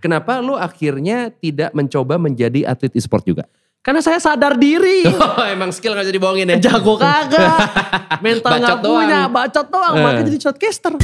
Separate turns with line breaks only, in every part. Kenapa lu akhirnya tidak mencoba menjadi atlet e-sport juga?
Karena saya sadar diri.
Oh, emang skill gak bisa dibohongin ya?
Jago kagak. Mental
Bacot
nggak punya.
doang.
Bacot doang.
Eh.
Makanya jadi shotcaster.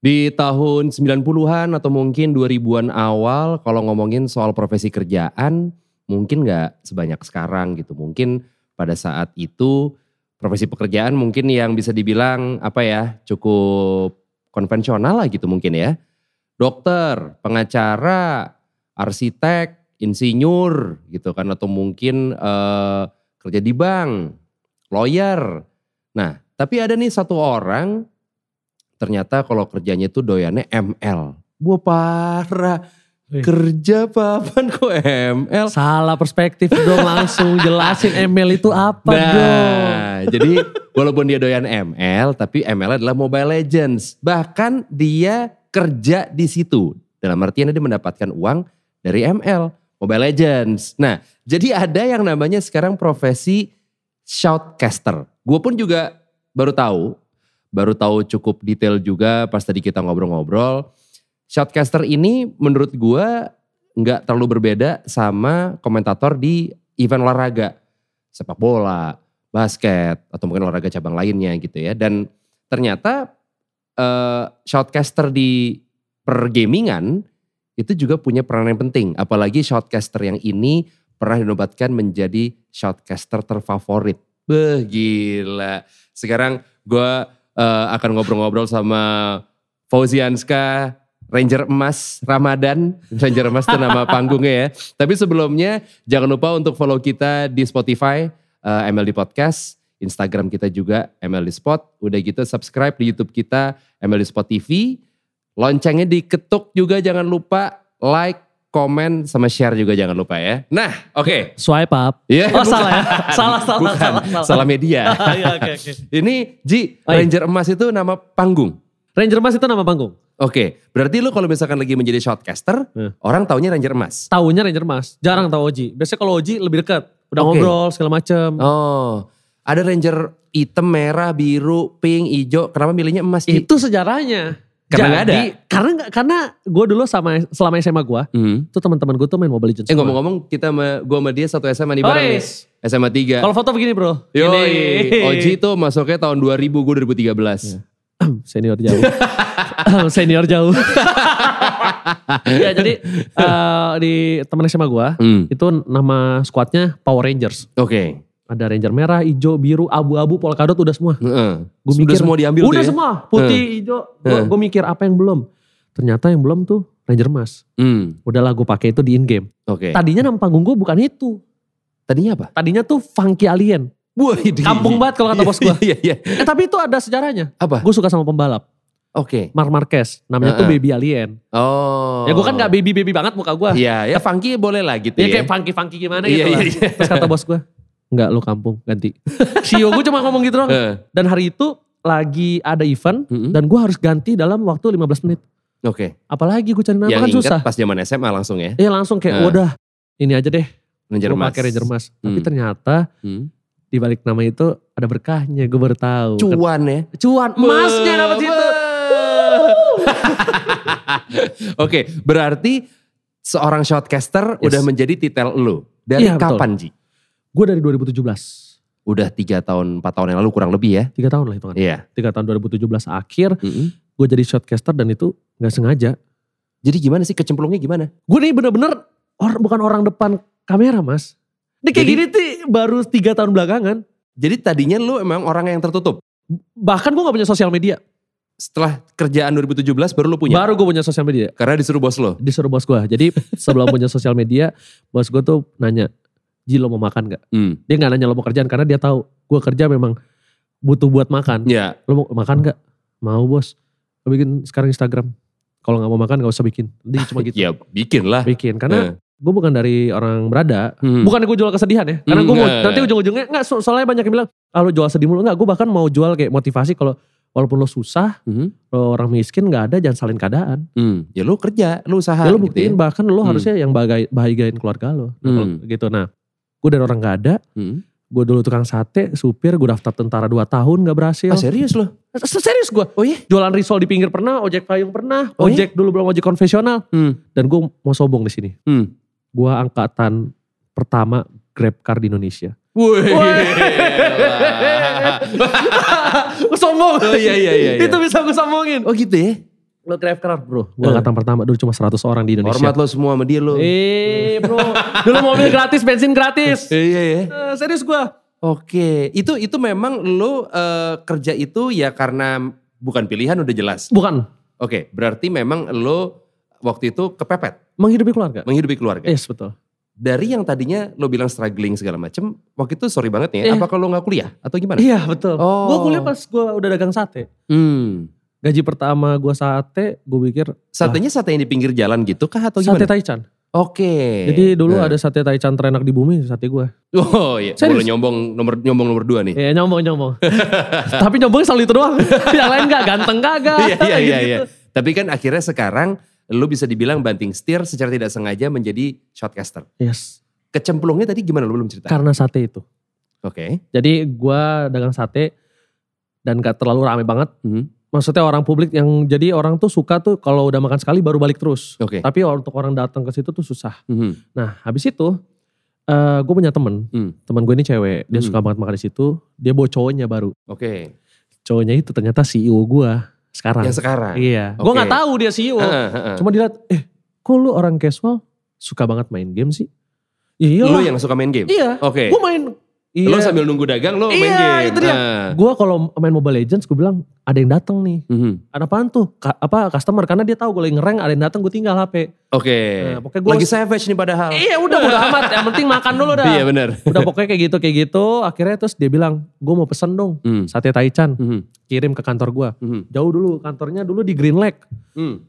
Di tahun 90-an atau mungkin 2000-an awal kalau ngomongin soal profesi kerjaan mungkin nggak sebanyak sekarang gitu. Mungkin pada saat itu profesi pekerjaan mungkin yang bisa dibilang apa ya cukup konvensional lah gitu mungkin ya. Dokter, pengacara, arsitek, insinyur gitu kan atau mungkin eh, kerja di bank, lawyer. Nah, tapi ada nih satu orang ternyata kalau kerjanya itu doyannya ML. Gua parah.
Wih.
Kerja papan kok ML?
Salah perspektif dong langsung jelasin ML itu apa
Nah.
dong.
jadi walaupun dia doyan ML, tapi ML adalah Mobile Legends. Bahkan dia kerja di situ. Dalam artian dia mendapatkan uang dari ML, Mobile Legends. Nah, jadi ada yang namanya sekarang profesi shoutcaster. Gue pun juga baru tahu, baru tahu cukup detail juga pas tadi kita ngobrol-ngobrol. Shoutcaster ini menurut gue nggak terlalu berbeda sama komentator di event olahraga. Sepak bola, basket atau mungkin olahraga cabang lainnya gitu ya. Dan ternyata eh, shoutcaster di pergamingan itu juga punya peranan yang penting. Apalagi shoutcaster yang ini pernah dinobatkan menjadi shoutcaster terfavorit. Beh gila. Sekarang gue akan ngobrol-ngobrol sama Fauzianska Ranger Emas Ramadan. Ranger Emas itu nama panggungnya ya. Tapi sebelumnya jangan lupa untuk follow kita di Spotify eh, MLD Podcast, Instagram kita juga MLD Spot. Udah gitu subscribe di YouTube kita MLD Spot TV. Loncengnya diketuk juga jangan lupa like, komen sama share juga jangan lupa ya. Nah, oke.
Swipe up.
Iya,
Oh
bukan.
salah ya. Salah, salah,
Bukan.
salah, salah. Oh,
Salah ya. media.
Iya, oke, oke.
Ini Ji,
Oi.
Ranger Emas itu nama panggung.
Ranger Mas itu nama panggung.
Oke, berarti lu kalau misalkan lagi menjadi shotcaster,
Hmm.
orang taunya Ranger Emas.
Taunya Ranger Mas. Jarang tahu Oji. Biasanya kalau Oji lebih dekat. Udah
Oke.
ngobrol segala macem.
Oh, ada Ranger hitam, merah, biru, pink, hijau. Kenapa milihnya emas, Ji?
Itu sejarahnya.
Karena nggak ada.
Jadi, Karena nggak- karena gue dulu sama selama SMA gue.
Hmm.
Itu teman-teman gue tuh main Mobile Legends.
Eh ngomong-ngomong kita sama gue sama dia satu SMA nih
Oh,
bareng nih.
yes.
SMA 3.
Kalau foto begini bro.
Yoi,
Gini.
Oji tuh masuknya tahun 2000, gue
Iya.
2013.
Senior jauh. Senior jauh. ya jadi eh, di teman SMA gue.
Hmm.
Itu nama squadnya Power Rangers.
Oke.
Ada Ranger merah, hijau, biru, abu-abu, polkadot udah semua.
Heeh.
Gua
Sudah
mikir,
semua diambil
udah
tuh ya?
semua putih, hijau. Gue mikir apa yang belum. Ternyata yang belum tuh Ranger Mas.
Hmm.
Udahlah gue pakai itu di in game.
Oke.
Tadinya nama panggung gue bukan itu.
Tadinya apa?
Tadinya tuh Funky Alien.
Wah, ini-
Kampung banget kalau kata bos gue.
Iya, iya. iya.
Eh, tapi itu ada sejarahnya.
Apa?
Gue suka sama pembalap.
Oke.
Mark Marquez. Namanya tuh
Heeh.
Baby Alien.
Oh.
Ya gue kan gak baby-baby banget muka gue.
Iya, ya funky boleh lah gitu
Ya
ya.
kayak funky-funky gimana
Iya,
gitu lah.
iya, iya.
Terus kata bos gue. Enggak lu kampung ganti. Sio gue cuma ngomong gitu doang.
Heeh.
Dan hari itu lagi ada event.
Mm-mm.
Dan gue harus ganti dalam waktu 15 menit.
Oke.
Apalagi gue cari nama
Yang
kan
Ya, ingat
susah.
pas zaman SMA langsung ya.
Iya langsung kayak
Nah.
wadah ini aja deh
Ranger
gue
Mas.
pakai Ranger Mas. Tapi
Hmm.
ternyata
Hmm.
di balik nama itu ada berkahnya gue baru tahu. Kan
Cuan ya.
Cuan emasnya dapat situ.
Wuh. Oke, berarti seorang shotcaster
Yes.
udah menjadi titel lu. Dari
Iya, betul.
kapan, Ji?
Gue dari 2017,
Udah tiga tahun, empat tahun yang lalu kurang lebih ya.
tiga tahun lah hitungannya.
Iya.
Tiga tahun 2017 akhir gue jadi shotcaster dan itu nggak sengaja.
Jadi gimana sih kecemplungnya gimana?
Gue nih bener-bener or- bukan orang depan kamera mas. Ini kayak
Jadi-
gini tuh baru tiga tahun belakangan.
Jadi tadinya lu emang orang yang tertutup.
Bahkan gue gak punya sosial media.
Setelah kerjaan 2017 baru lu punya.
Baru gue punya sosial media.
Karena disuruh bos lo.
Disuruh bos gue. Jadi sebelum punya sosial media, bos gue tuh nanya, Ji lo mau makan gak?
Hmm.
dia nggak nanya lo mau kerjaan karena dia tahu gue kerja memang butuh buat makan
Ya.
lo mau makan nggak mau bos lo bikin sekarang Instagram kalau nggak mau makan nggak usah bikin dia cuma gitu
Ya bikin lah.
bikin
Eh.
karena gue bukan dari orang berada
Hmm.
bukan gue jual kesedihan ya karena gue mau
Hmm,
nanti
eh.
ujung-ujungnya nggak so- soalnya banyak yang bilang kalau jual sedih mulu nggak gue bahkan mau jual kayak motivasi kalau walaupun lo susah
Hmm.
lo orang miskin nggak ada jangan salin keadaan
Hmm. Ya lu kerja, lu usaha.
ya lo
gitu ya.
buktiin bahkan lo
Hmm.
harusnya yang bagai- bahagiain keluarga lo Nah, kalau
Hmm.
gitu nah gue dari orang nggak ada
Hmm.
Gue dulu tukang sate, supir, gue daftar tentara 2 tahun gak berhasil.
Ah, serius loh?
Se- Serius gue.
Oh iya?
Jualan risol di pinggir pernah, ojek payung pernah,
Oh iya?
ojek dulu belum ojek konvensional.
Hmm.
Dan gue mau sombong di sini.
Hmm.
Gue angkatan pertama Grab Car di Indonesia.
Wih.
sombong.
Oh, iya, iya, iya, iya.
Itu bisa gue sombongin.
oh gitu ya?
Lo Grab Car bro. Gue
Eh.
angkatan pertama dulu cuma 100 orang di Indonesia.
Hormat lo semua sama dia lo.
Eh bro, dulu mobil gratis, bensin gratis.
Iya ya.
Eh, serius gue.
Oke, itu itu memang lo eh, kerja itu ya karena bukan pilihan udah jelas.
Bukan,
Oke, berarti memang lo waktu itu kepepet
menghidupi keluarga.
menghidupi keluarga.
Yes, betul.
Dari yang tadinya lo bilang struggling segala macem, waktu itu sorry banget
Iya.
ya. Apa kalau nggak kuliah atau gimana?
Iya, betul.
Oh.
Gue kuliah pas gue udah dagang sate.
Hmm.
Gaji pertama gue sate, gue pikir
Satenya sate yang di pinggir jalan gitu kah atau
sate
gimana?
Taichan.
Oke.
Jadi dulu
Nah.
ada sate Taichan terenak di bumi, sate gue.
Oh iya,
Serius?
boleh nyombong nomor nyombong nomor dua nih.
Iya, nyombong-nyombong. Tapi nyombong selalu itu doang. Yang lain gak, ganteng kagak.
Iya iya iya.
Gitu-gitu.
iya. Tapi kan akhirnya sekarang lo bisa dibilang banting setir secara tidak sengaja menjadi shotcaster.
Yes,
Kecemplungnya tadi gimana lo belum cerita? Oke.
karena sate itu. Jadi gue dagang sate dan gak terlalu rame banget.
Hmm.
Maksudnya orang publik yang jadi orang tuh suka tuh kalau udah makan sekali baru balik terus.
Oke.
Tapi untuk orang datang ke situ tuh susah.
Mhm.
Nah, habis itu gue punya temen,
Hmm.
temen gue ini cewek, dia
Hmm.
suka banget makan di situ. Dia bawa cowoknya baru,
Oke.
cowoknya itu ternyata CEO gue sekarang.
Yang sekarang.
Iya,
Oke.
gue nggak tahu dia CEO.
Heeh, heeh.
Cuma dilihat, eh, kok lu orang casual suka banget main game sih? Iya,
Lo
lah.
yang suka main game.
iya,
Oke.
gue main. Iya,
Lo sambil nunggu dagang lo main
Iya,
game.
itu dia.
Nah.
gue kalau main Mobile Legends gue bilang ada yang datang nih.
Mhm.
Ada apaan tuh? Ka- apa customer? Karena dia tahu gue lagi ngereng, ada yang datang gue tinggal HP.
Oke.
Nah, pokoknya gua-
Lagi savage nih padahal.
Iya udah udah amat, yang penting makan dulu dah.
Iya benar.
udah pokoknya kayak gitu kayak gitu akhirnya terus dia bilang gue mau pesen dong
Hmm.
sate taichan
Mhm.
kirim ke kantor gue
Mhm.
jauh dulu kantornya dulu di Green Lake
Hmm.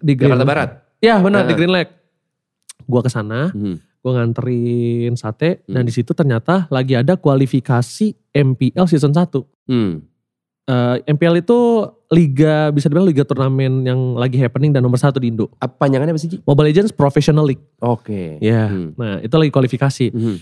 di Green
Jakarta Barat.
ya benar di
Heeh.
Green Lake gue kesana
Mhm.
gue nganterin sate dan
Hmm.
di situ ternyata lagi ada kualifikasi MPL season 1 Mhm.
Hmm.
Eh, MPL itu liga bisa dibilang liga turnamen yang lagi happening dan nomor satu di Indo
Apa panjangannya apa sih Ji?
Mobile Legends Professional League
Oke.
ya
Hmm.
nah itu lagi kualifikasi
Mhm.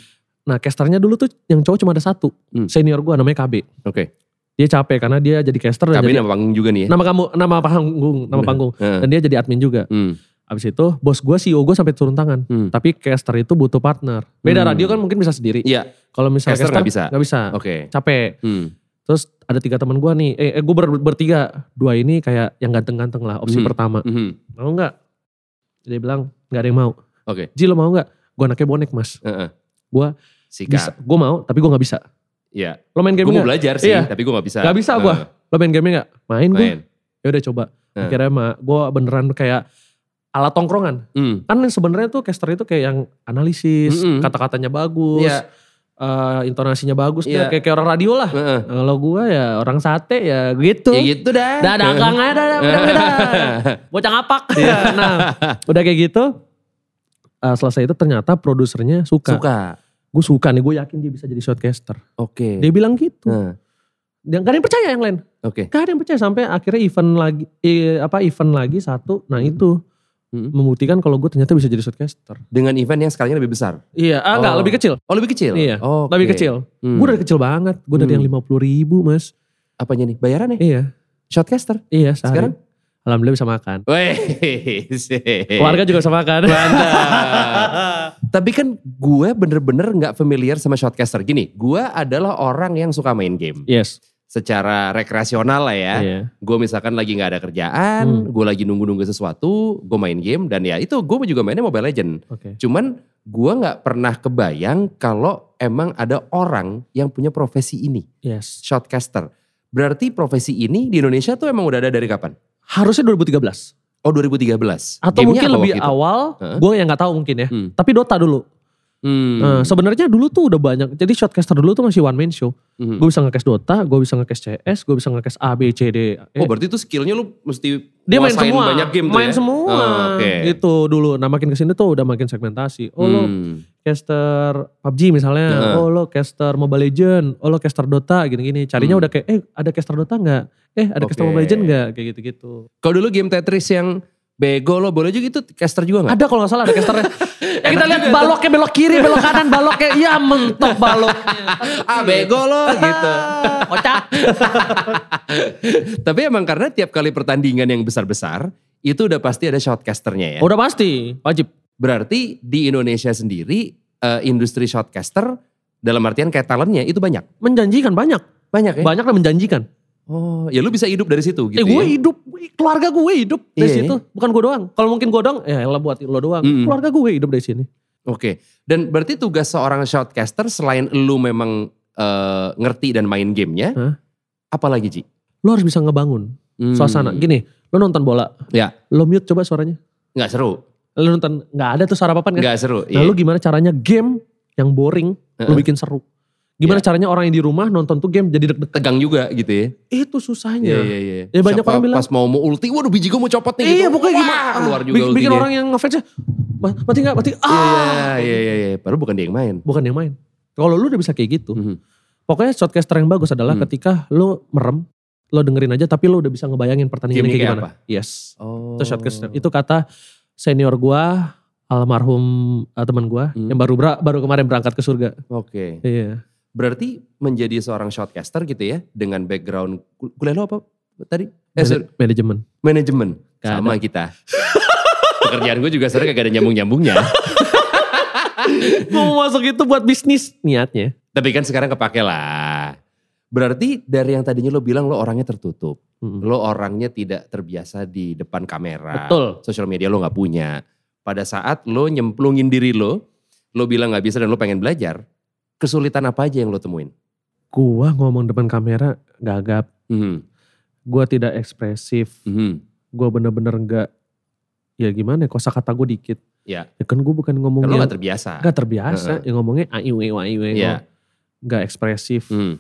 nah casternya dulu tuh yang cowok cuma ada satu
Hmm.
senior gue namanya KB
Oke.
dia capek karena dia Iya, jadi Nah. caster dan
Kami
jadi
nama panggung juga nih ya.
nama kamu nama panggung nama
Bener.
panggung
Heeh.
dan dia jadi admin juga
Hmm.
abis itu bos gue CEO gue sampai turun tangan
Hmm.
tapi caster itu butuh partner
Hmm.
beda radio kan mungkin bisa sendiri
Iya.
kalau misalnya
Caster
caster
nggak bisa.
nggak bisa
Oke.
capek
Hmm.
terus ada tiga teman gue nih eh, eh gue ber- bertiga dua ini kayak yang ganteng-ganteng lah opsi
Hmm.
pertama
Mhm.
mau nggak dia bilang nggak ada yang mau
Oke.
Ji lo mau nggak gue anaknya bonek mas
Heeh.
Gua bisa
sikat.
gue mau tapi gue nggak bisa
Iya.
lo main game
Gue mau
nggak
belajar sih,
Iya.
tapi gue gak bisa.
Nggak bisa gua. lo main game nggak main
Eh,
gue
Main.
ya udah coba
Hmm.
akhirnya mah gue beneran kayak alat tongkrongan
Hmm.
kan yang sebenarnya tuh caster itu kayak yang analisis
Mm-mm.
kata-katanya bagus
Iya.
eh, intonasinya bagus dia
Iya.
kayak kayak orang radio lah
Heeh.
kalau gue ya orang sate ya gitu
Ya gitu dah.
dah dagang aja dah dah, udah, udah. bocah ngapak nah udah kayak gitu eh, selesai itu ternyata produsernya suka,
Suka.
gue suka nih gue yakin dia bisa jadi shortcaster
Oke.
dia bilang gitu
Heeh.
dia gak ada yang percaya yang lain
Oke.
Gak ada yang percaya sampai akhirnya event lagi eh, apa event lagi satu. Nah itu Hmm.
Mm-mm.
membuktikan kalau gue ternyata bisa jadi shortcaster.
Dengan event yang skalanya lebih besar.
Iya, ah, enggak
Oh.
lebih kecil.
Oh lebih kecil?
Iya,
Oke.
Lebih kecil.
Hmm.
Gue dari kecil banget. Gue dari
Hmm.
yang 50 ribu mas.
Apanya nih? Bayarannya?
Iya,
Shotcaster.
iya. Sehari.
Sekarang?
alhamdulillah bisa makan.
Weh.
Keluarga juga bisa makan.
Mantap. Tapi kan gue bener-bener gak familiar sama shotcaster. Gini, gue adalah orang yang suka main game.
yes.
Secara rekreasional lah ya.
Iya. Hmm.
Gue misalkan lagi gak ada kerjaan, gue lagi nunggu-nunggu sesuatu, gue main game. Dan ya itu gue juga mainnya Mobile Legend.
Oke.
Cuman gue gak pernah kebayang kalau emang ada orang yang punya profesi ini.
Yes.
Shotcaster. Berarti profesi ini di Indonesia tuh emang udah ada dari kapan?
Harusnya 2013
Oh 2013.
atau
Gamenya
mungkin
apa
lebih
waktu itu?
awal.
Heeh.
Gue yang nggak tahu mungkin ya.
Hmm.
Tapi Dota dulu.
Hmm.
Nah, sebenarnya dulu tuh udah banyak. Jadi shortcaster dulu tuh masih one man show.
Hmm.
Gue bisa nge-cash Dota, gue bisa nge-cash CS, gue bisa nge-cash A, B, C, D. E.
Oh berarti itu skillnya lu mesti
dia main
nguasain
semua
banyak game tuh
main
ya?
semua
Oh, Oke.
gitu dulu nah makin kesini tuh udah makin segmentasi oh lo
Hmm.
caster PUBG misalnya
Heeh.
oh lo caster Mobile Legend oh lo caster Dota gini-gini carinya
Hmm.
udah kayak eh ada caster Dota nggak eh ada caster
Oke.
Mobile Legend nggak kayak gitu-gitu
Kalau dulu game Tetris yang Bego lo boleh juga itu caster juga gak?
Ada kalau nggak salah ada casternya. ya kita lihat baloknya belok kiri, belok kanan, baloknya. Iya mentok baloknya.
Ah bego lo gitu.
Kocak.
Tapi emang karena tiap kali pertandingan yang besar-besar itu udah pasti ada shoutcasternya ya.
Udah pasti, wajib.
Berarti di Indonesia sendiri eh, industri shoutcaster dalam artian kayak talentnya itu banyak.
Menjanjikan banyak.
Banyak ya?
Banyak dan menjanjikan.
Oh, ya lu bisa hidup dari situ gitu
eh gue
ya.
hidup, keluarga gue hidup dari
Iya.
situ. Bukan gue doang. Kalau mungkin gue doang, ya elah buat lo doang.
Mm-mm.
Keluarga gue hidup dari sini.
Oke. Dan berarti tugas seorang shoutcaster selain lu memang eh, ngerti dan main gamenya.
Hah?
Apalagi Ji?
Lo harus bisa ngebangun
Hmm.
suasana. Gini, lo nonton bola.
Ya.
Lo mute coba suaranya.
Nggak seru.
Lo nonton, nggak ada tuh suara papan kan.
Nggak seru. Iya.
Nah lo gimana caranya game yang boring, lo
Heeh. Ya.
bikin seru. Gimana caranya orang yang di rumah nonton tuh game jadi deg-degan.
Tegang juga gitu ya. Iya,
Itu susahnya.
iya, iya.
Ya, banyak
Siapa
orang bilang-
Pas mau mau ulti, waduh biji gue mau copot nih
Iya
gitu.
pokoknya
Wah,
gimana.
Keluar juga
Bi-
ultinya.
Bikin orang yang ngefansnya, "Ma- mati gak, mati.
Iya,
Ah.
iya, iya, iya. Padahal bukan dia yang main.
Bukan yang main. Kalau lu udah bisa kayak gitu.
Mhm.
Pokoknya shotcaster yang bagus adalah
Hmm.
ketika lu merem, lo dengerin aja tapi lo udah bisa ngebayangin pertandingan
Gamenya
kayak
kayak
gimana.
apa?
Yes.
Oh.
Itu shotcaster. Itu kata senior gua, almarhum eh, teman gua
Hmm.
yang baru bra- baru kemarin berangkat ke surga.
Oke.
Iya.
Berarti menjadi seorang shotcaster gitu ya dengan background kul- kuliah lo apa tadi? Eh, sorry,
Mana- Manajemen.
manajemen.
Gak
Sama kita. Pekerjaan gue juga sebenarnya gak ada nyambung-nyambungnya.
Gua mau masuk itu buat bisnis niatnya.
Tapi kan sekarang kepake lah. Berarti dari yang tadinya lo bilang lo orangnya tertutup.
Mm.
Lo orangnya tidak terbiasa di depan kamera.
Betul.
Social media lo gak punya. Pada saat lo nyemplungin diri lo, lo bilang gak bisa dan lo pengen belajar, kesulitan apa aja yang lo temuin?
Gua ngomong depan kamera gagap.
Mhm,
Gua tidak ekspresif.
mhm.
Gua bener-bener nggak ya gimana ya kosa kata gue dikit.
Iya.
Ya kan gue bukan ngomong
Karena lo
yang-
gak terbiasa.
Gak terbiasa yang ngomongnya aiu aiu aiu aiu.
Iya.
Gak ekspresif.
Mhm.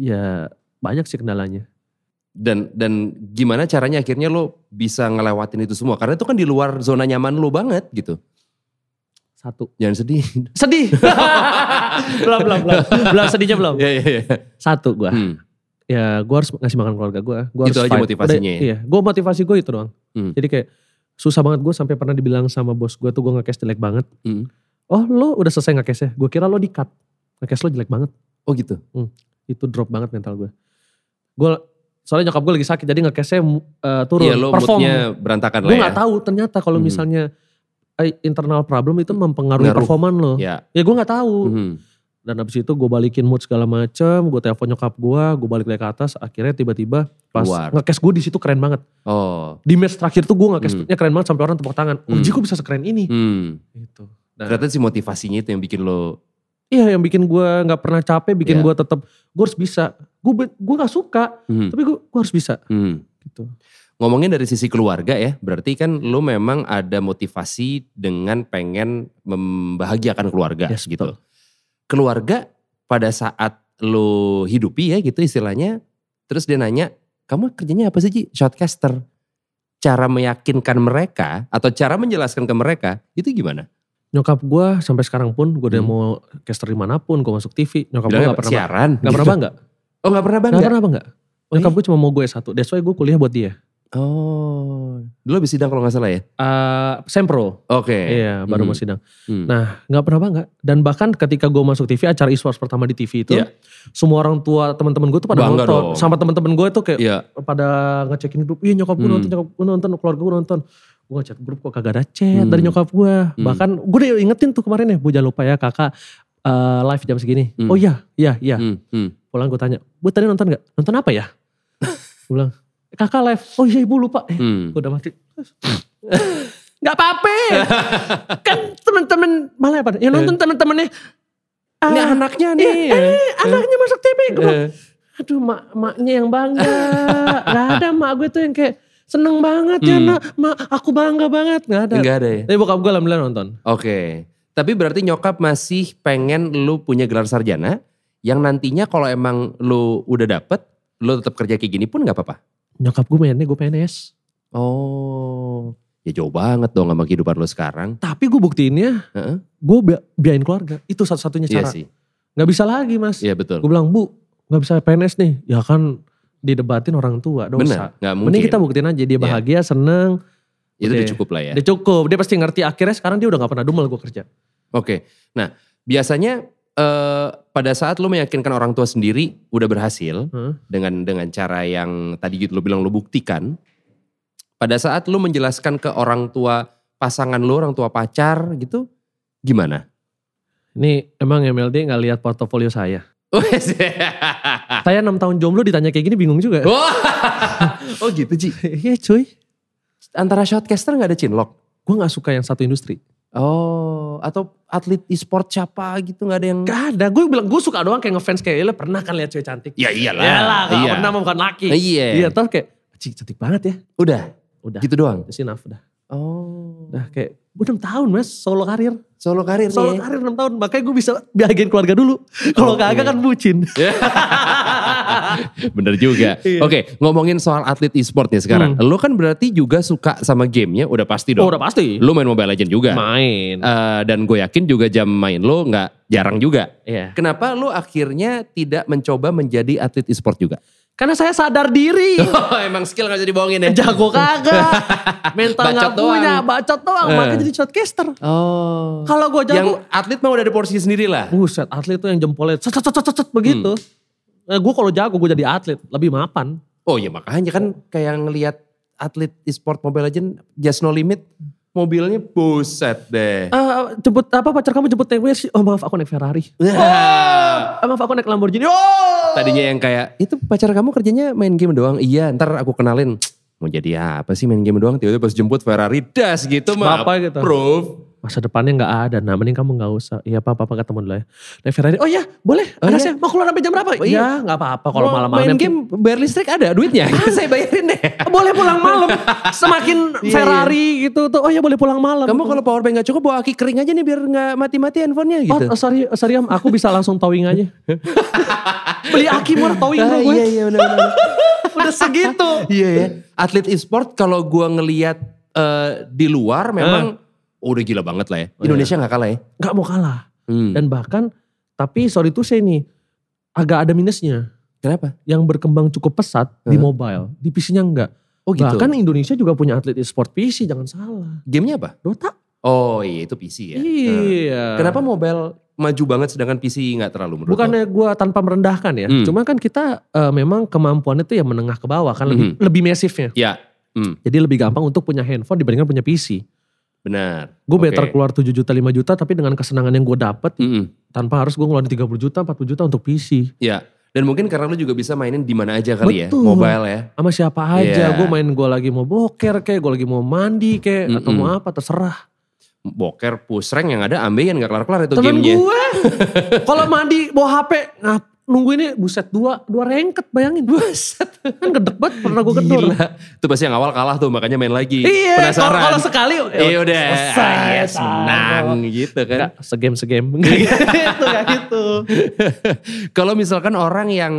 Ya banyak sih kendalanya.
Dan dan gimana caranya akhirnya lo bisa ngelewatin itu semua? Karena itu kan di luar zona nyaman lo banget gitu.
Satu.
Jangan sedih.
Sedih. belum belum belum. Belum sedihnya belum.
Iya iya iya.
Ya. Satu gue.
Hmm.
Ya gue harus ngasih makan keluarga gue. Gua
Itu
harus
aja
fight.
motivasinya
Udah,
ya?
iya. Gue motivasi gue itu doang.
Hmm.
Jadi kayak susah banget gue sampai pernah dibilang sama bos gue tuh gue nge-cash jelek banget.
Hmm.
Oh lo udah selesai nge-cashnya. Gue kira lo di cut. Nge-cash lo jelek banget.
Oh gitu.
Itu drop banget mental gue. Gue soalnya nyokap gue lagi sakit jadi nge-cashnya eh, turun.
Iya lo
perform
moodnya berantakan lah
gue
ya.
nggak tahu ternyata kalau
Mhm.
misalnya eh, internal problem itu mempengaruhi
Ngaruh.
performan lo
Iya.
ya gue nggak tahu
Mhm.
dan abis itu gue balikin mood segala macem gue telepon nyokap gue gue balik lagi ke atas akhirnya tiba-tiba pas
Keluar.
ngekes gue di situ keren banget
Oh.
di match terakhir tuh gue ngekesnya
Hmm.
keren banget sampai orang tepuk tangan oh
Hmm.
Ji, kok bisa sekeren ini
Hmm.
gitu
Ternyata si motivasinya itu yang bikin lo.
iya yang bikin gue nggak pernah capek bikin
Iya.
gue tetap gue harus bisa gue be- gue nggak suka
Mhm.
tapi gue gue harus bisa
Mhm.
gitu
Ngomongin dari sisi keluarga ya, berarti kan lo memang ada motivasi dengan pengen membahagiakan keluarga
Yes,
gitu. Keluarga pada saat lo hidupi ya gitu istilahnya, terus dia nanya, kamu kerjanya apa sih Ji? Shotcaster. Cara meyakinkan mereka atau cara menjelaskan ke mereka itu gimana?
nyokap gue sampai sekarang pun gue udah
Hmm.
mau caster dimanapun gue masuk TV nyokap gue
Bilangnya
nggak
apa?
pernah
siaran.
nggak pernah
gitu.
bangga
Oh nggak pernah bangga?
Gak pernah apa enggak?
Oh,
Nyokap gue cuma mau gue satu. That's why gue kuliah buat dia.
Oh, dulu habis sidang kalau nggak salah ya?
Eh, Sempro.
Oke.
Iya, baru
Hmm.
mau sidang.
Hmm.
Nah, Gak pernah bangga. Dan bahkan ketika gue masuk TV, acara esports pertama di TV itu.
Iya.
Semua orang tua teman-teman gue tuh pada
Bangga
nonton.
dong.
Sama teman-teman gue tuh kayak
Iya.
pada ngecekin grup. Iya nyokap gue
Hmm.
nonton, nyokap gue nonton, keluarga gue nonton. Gue ngecek grup kok kagak ada chat
Hmm.
dari nyokap gue.
Hmm.
Bahkan gue udah ingetin tuh kemarin ya. Bu jangan lupa ya kakak eh, live jam segini.
Hmm.
Oh iya, iya, iya.
Hmm, hmm.
pulang gue tanya, bu tadi nonton gak? Nonton apa ya? gue bilang, kakak live. Oh iya ibu lupa. Eh,
Hmm.
gue udah mati. gak apa-apa. kan temen-temen, malah apa? Ya nonton temen-temennya. Ah,
Eh. Ini anaknya
iya,
nih.
Eh, anaknya masuk TV. Gue bilang,
Eh.
aduh mak maknya yang bangga. gak ada mak gue tuh yang kayak seneng banget ya
Hmm.
nak. Mak aku bangga banget. Gak ada.
Enggak ada ya.
Tapi bokap gue alhamdulillah nonton.
Oke. Tapi berarti nyokap masih pengen lu punya gelar sarjana yang nantinya kalau emang lu udah dapet, lu tetap kerja kayak gini pun nggak apa-apa.
Nyokap gue mainnya gue PNS.
Oh. Ya jauh banget dong sama kehidupan lu sekarang.
Tapi gue buktiinnya,
Heeh.
gue bi- biayain keluarga. Itu satu-satunya
Iya
cara.
sih.
Gak bisa lagi mas.
Iya betul.
Gue bilang bu nggak bisa PNS nih. Ya kan didebatin orang tua dosa.
Benar, nggak mungkin. Iya.
Mending kita buktiin aja dia bahagia, seneng.
Itu
Oke.
udah cukup lah ya.
Dia cukup, dia pasti ngerti akhirnya sekarang dia udah gak pernah dumel gue kerja.
Oke. Nah, biasanya eh, pada saat lu meyakinkan orang tua sendiri udah berhasil
Heeh.
dengan dengan cara yang tadi gitu lu bilang lu buktikan. Pada saat lu menjelaskan ke orang tua pasangan lu, orang tua pacar gitu, gimana?
Ini emang MLD gak lihat portofolio saya.
Wes. Ah.
Saya 6 tahun jomblo ditanya kayak gini bingung juga.
Wah. oh gitu Ji.
Iya cuy,
Antara shotcaster gak ada chinlock?
gue gak suka yang satu industri.
Oh, atau atlet e-sport siapa gitu gak ada yang...
Gak ada, gue bilang gue suka doang kayak ngefans kayak "Ya, lo pernah kan lihat cewek cantik.
Ya iyalah.
Yalah, gak
Iya.
pernah mah bukan laki.
Iya.
Iya, terus kayak, cik cantik banget ya.
Udah,
Udah,
gitu doang.
that's enough udah.
Oh.
Udah kayak, gue 6 tahun mas, solo karir.
Solo karir
Solo
nih.
karir 6 tahun, makanya gue bisa bahagiain keluarga dulu. Kalau
Oke.
kagak kan bucin.
Bener juga.
Iya.
Oke, ngomongin soal atlet e-sport nih sekarang. Lo kan berarti juga suka sama gamenya, udah pasti dong.
Oh udah pasti.
Lo main Mobile Legends juga.
Main.
Eh, dan gue yakin juga jam main lo nggak jarang juga.
Iya.
Kenapa lo akhirnya tidak mencoba menjadi atlet e-sport juga?
Karena saya sadar diri.
Emang skill gak jadi bohongin
Jago kagak. Mental
Bacot
gak punya.
doang.
Bacot doang.
Eh.
Makanya jadi shotcaster.
Oh.
Kalau gue jago.
Yang atlet mah udah ada porsi sendiri lah.
Buset atlet tuh yang jempolnya. Cet, cet, cet, cet, cet, begitu. Nah, gue kalau jago gue jadi atlet. Lebih mapan.
Oh ya makanya kan kayak ngelihat atlet e-sport Mobile Legends Just No Limit mobilnya buset deh.
Eh, jemput apa pacar kamu jemput naik Mercy. Oh maaf aku naik Ferrari.
Wah.
Oh, maaf aku naik Lamborghini. Oh.
Tadinya yang kayak itu pacar kamu kerjanya main game doang. Iya, ntar aku kenalin. Mau jadi apa sih main game doang? Tiba-tiba pas jemput Ferrari das gitu mah.
Bapak gitu.
Proof.
Masa depannya gak ada. Nah mending kamu gak usah. Iya apa apa ketemu dulu ya. Naik Ferrari. Oh iya boleh.
Oh,
ada
iya.
saya. Mau keluar sampai jam berapa?
Oh, iya.
iya. nggak apa-apa kalau
Mau
malam-malam.
Main
yang
game bayar listrik ada duitnya. Saya bayarin deh.
boleh pulang malam. Semakin
Iya,
Ferrari gitu tuh. Oh ya boleh pulang malam.
Kamu kalau power bank gak cukup bawa aki kering aja nih biar gak mati-mati handphonenya gitu.
Oh, sorry, sorry Am, aku bisa langsung towing aja. Beli aki murah towing
Ah,
bro gue.
iya iya benar-benar.
Udah segitu.
Iya ya. Atlet e-sport kalau gua ngelihat eh, di luar memang
Ah.
udah gila banget lah ya. Indonesia nggak kalah ya.
Gak mau kalah.
Hmm.
Oh, iya. Dan bahkan, tapi sorry tuh saya nih, agak ada minusnya.
Kenapa?
Yang berkembang cukup pesat di
Heeh.
mobile, di PC-nya enggak.
Oh gitu.
Bahkan Indonesia juga punya atlet e-sport PC, jangan salah.
gamenya apa?
Dota?
Oh iya itu PC ya. Nah,
Iya.
Kenapa mobile maju banget sedangkan PC nggak terlalu menurut lo?
Bukannya gue tanpa merendahkan ya,
Hmm.
cuma kan kita eh, memang kemampuannya tuh ya menengah ke bawah kan lebih
Hmm.
lebih masifnya.
Ya. Hmm,
Jadi lebih gampang untuk punya handphone dibandingkan punya PC.
benar.
Gue
Oke.
better keluar 7 juta 5 juta tapi dengan kesenangan yang gue dapet
Mm-mm.
tanpa harus gue ngeluarin 30 juta 40 juta untuk PC.
Ya. Dan mungkin karena lu juga bisa mainin di mana aja kali ya,
Betul.
mobile ya.
Sama siapa aja,
Iya.
gue main gue lagi mau boker kayak, gue lagi mau mandi kayak, atau
Mm-mm.
mau apa terserah.
Boker, pusreng yang ada ambeien nggak kelar-kelar itu
Temen
gamenya.
gue kalau mandi bawa HP ngap nunggu ini buset dua dua rengket bayangin buset kan gedek banget pernah gue gedor
Gila. Itu pasti yang awal kalah tuh makanya main lagi.
iya kalau
Penasaran.
kalau sekali
Iya udah,
selesai,
ah, yes,
tahu.
menang gitu kan.
Nggak, segame segame Nggak gitu nggak gitu
Kalau misalkan orang yang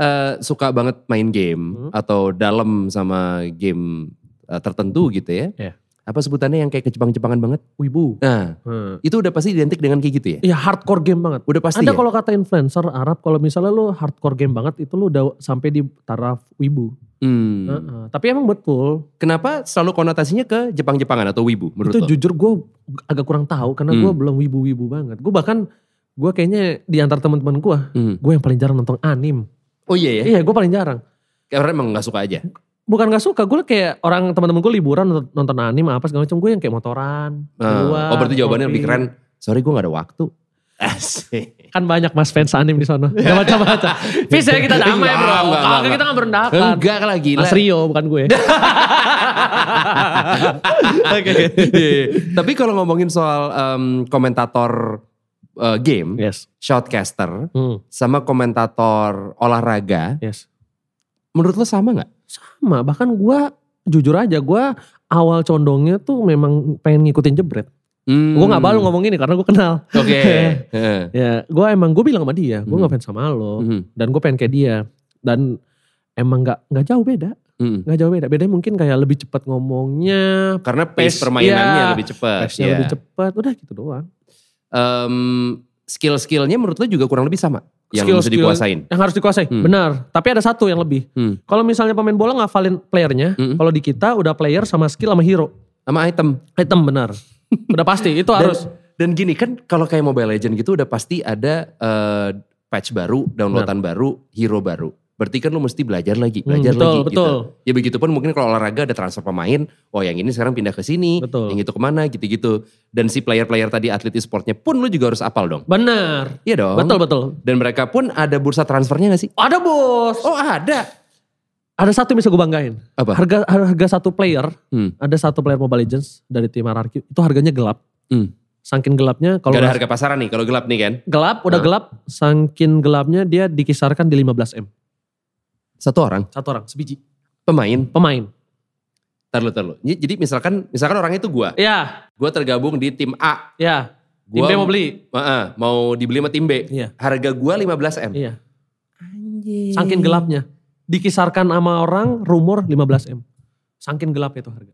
eh, suka banget main
Hmm.
game atau dalam sama game eh, tertentu gitu ya.
Iya.
Apa sebutannya yang kayak kejepang-jepangan banget?
wibu
Nah,
Hmm.
itu udah pasti identik dengan kayak gitu ya.
Iya hardcore game banget.
Udah pasti
Ada
ya?
kalau kata influencer Arab kalau misalnya lu hardcore game banget itu lu udah sampai di taraf wibu.
Hmm.
Heeh. Tapi emang betul.
Kenapa selalu konotasinya ke Jepang-Jepangan atau wibu menurut
itu
lo? Hmm.
jujur gue agak kurang tahu karena gue belum wibu-wibu banget. Gue bahkan gue kayaknya di antara teman-teman gue,
Hmm.
gue yang paling jarang nonton anim.
Oh iya ya,
Iya gue paling jarang.
karena emang gak suka aja.
Bukan gak suka, gue kayak orang teman-teman gue liburan nonton- nonton anim apa segala macam. Gue yang kayak motoran,
Nah,
keluar,
oh berarti jawabannya
ngopi.
lebih keren. Sorry gue gak ada waktu. Asik.
Kan banyak mas fans anim di sana. Gak baca-baca. Fis ya kita damai
Iya,
bro.
enggak, enggak,
Kagak kita gak merendahkan.
Enggak lah gila.
Mas Rio bukan gue.
Iya, iya. Tapi kalau ngomongin soal em, komentator eh, game,
yes.
shoutcaster,
Hmm,
sama komentator olahraga,
yes.
menurut lo sama nggak?
Sama, bahkan gue jujur aja gue awal condongnya tuh memang pengen ngikutin jebret.
Hmm.
Gue gak malu ngomong ini karena gue kenal.
Oke. Heeh.
Ya, gue emang gue bilang sama dia, gue
Hmm.
gak fans sama lo
Mhm.
dan gue pengen kayak dia dan emang nggak nggak jauh beda,
Mhm.
nggak jauh beda. Bedanya mungkin kayak lebih cepat ngomongnya,
Karena pace
Pace,
permainannya
iya.
lebih cepat.
pace-nya
iya.
lebih cepat, udah gitu doang.
Em, skill-skillnya menurut lo juga kurang lebih sama? Yang bisa
Skill-skill-
dikuasain?
Yang harus dikuasai,
Hmm.
benar. Tapi ada satu yang lebih.
Hmm.
Kalau misalnya pemain bola ngafalin playernya,
Mm-mm.
kalau di kita udah player sama skill sama hero.
Hmm. sama item.
Item benar. Udah pasti itu
Dan-
harus.
Dan gini kan kalau kayak Mobile Legend gitu udah pasti ada eh, patch baru, downloadan baru, hero baru. Berarti kan lu mesti belajar lagi,
Hmm,
belajar
betul,
lagi gitu.
betul.
Ya begitupun mungkin kalau olahraga ada transfer pemain, oh yang ini sekarang pindah ke sini,
Betul.
yang itu kemana gitu-gitu. Dan si player-player tadi atlet e-sportnya pun lu juga harus apal dong.
Benar.
Iya dong.
Betul betul.
Dan mereka pun ada bursa transfernya gak sih?
Ada bos.
Oh ada.
Ada satu yang bisa gue banggain.
Apa?
Harga harga satu player,
Hmm.
ada satu player Mobile Legends dari tim Hierarchy, itu harganya gelap.
Hmm.
Saking gelapnya
Gak
kalau
ada
nggak-
harga pasaran nih kalau gelap nih kan.
gelap udah
Nah.
gelap, saking gelapnya dia dikisarkan di 15M.
Satu orang,
Satu orang, sebiji.
pemain.
Pemain.
Tarlu, tarlu. Jadi misalkan misalkan orangnya itu gua.
Ya,
Gua tergabung di tim A.
ya.
Gua
Tim B mau beli.
Heeh, mau dibeli sama tim B.
Iya.
Harga gua 15 M.
Iya.
Anjir.
Saking gelapnya. Dikisarkan sama orang rumor 15M. Saking gelap itu harga.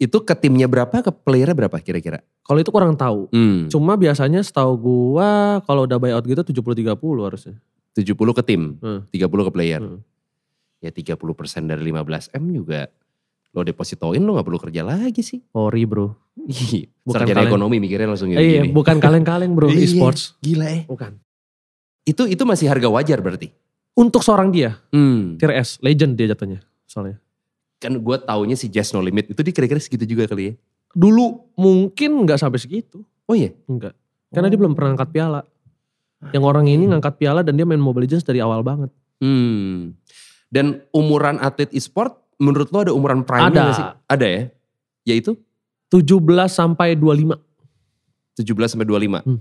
Itu ke timnya berapa, ke playernya berapa kira-kira?
Kalau itu kurang tahu.
Hmm.
Cuma biasanya setahu gua kalau udah buyout gitu 70 30 harusnya.
70 ke tim,
Hmm.
30 ke player.
Hmm.
Ya 30% dari 15 M juga lo depositoin lo gak perlu kerja lagi sih.
Ori bro.
Ih,
Bukan
Sarjana
kalian.
ekonomi mikirnya langsung
Eh, iya, ya.
gini.
bukan kaleng-kaleng bro,
Iya.
e-sports.
Gila eh.
Bukan.
Itu itu masih harga wajar berarti.
Untuk seorang dia,
Hmm.
tier S, legend dia jatuhnya soalnya.
Kan gue taunya si Jazz No Limit itu dia kira-kira segitu juga kali ya.
Dulu mungkin nggak sampai segitu.
Oh iya?
Enggak.
Oh.
Karena dia belum pernah angkat piala.
Ah,
Yang orang
iya.
ini ngangkat piala dan dia main Mobile Legends dari awal banget.
Hmm. Dan umuran atlet e-sport menurut lo ada umuran prime
Ada.
sih? Ada ya? Yaitu
17 sampai 25.
17 sampai 25.
Hmm.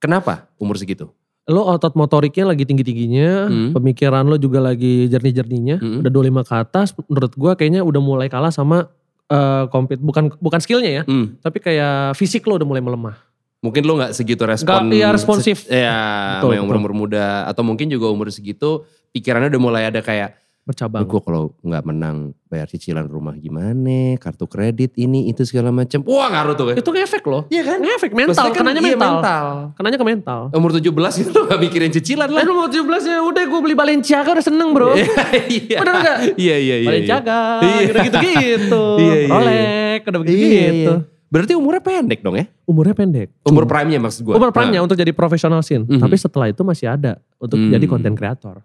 Kenapa umur segitu?
Lo otot motoriknya lagi tinggi-tingginya,
Hmm.
pemikiran lo juga lagi jernih-jerninya.
Hmm.
Udah 25 ke atas, menurut gua kayaknya udah mulai kalah sama eh kompet bukan bukan skillnya ya,
Hmm.
tapi kayak fisik lo udah mulai melemah.
Mungkin lo gak segitu respon.
Nggak, iya, responsif.
se- Ya,
Betul,
sama yang umur-umur muda. Atau mungkin juga umur segitu pikirannya udah mulai ada kayak,
Bercabang.
gue kalau gak menang bayar cicilan rumah gimana, kartu kredit ini, itu segala macam. Wah ngaruh tuh kan.
Itu ngefek loh.
Iya kan?
Ngefek mental,
Maksudnya kan,
kenanya
iya,
mental.
mental.
Kenanya ke mental.
Umur 17 itu lo gak mikirin cicilan
Eh
lah.
lu mau 17 ya udah gue beli Balenciaga udah seneng bro.
Iya.
Bener nggak?
Iya, iya, iya. iya.
Balenciaga,
Iya.
udah gitu-gitu.
Iya, iya, iya.
Rolex, udah begitu
Iya,
gitu.
iya. Berarti umurnya pendek dong ya?
Umurnya pendek.
Umur prime-nya maksud gue.
Umur prime-nya untuk jadi profesional scene.
Mhm.
Tapi setelah itu masih ada untuk
Hmm. Iya.
jadi konten kreator,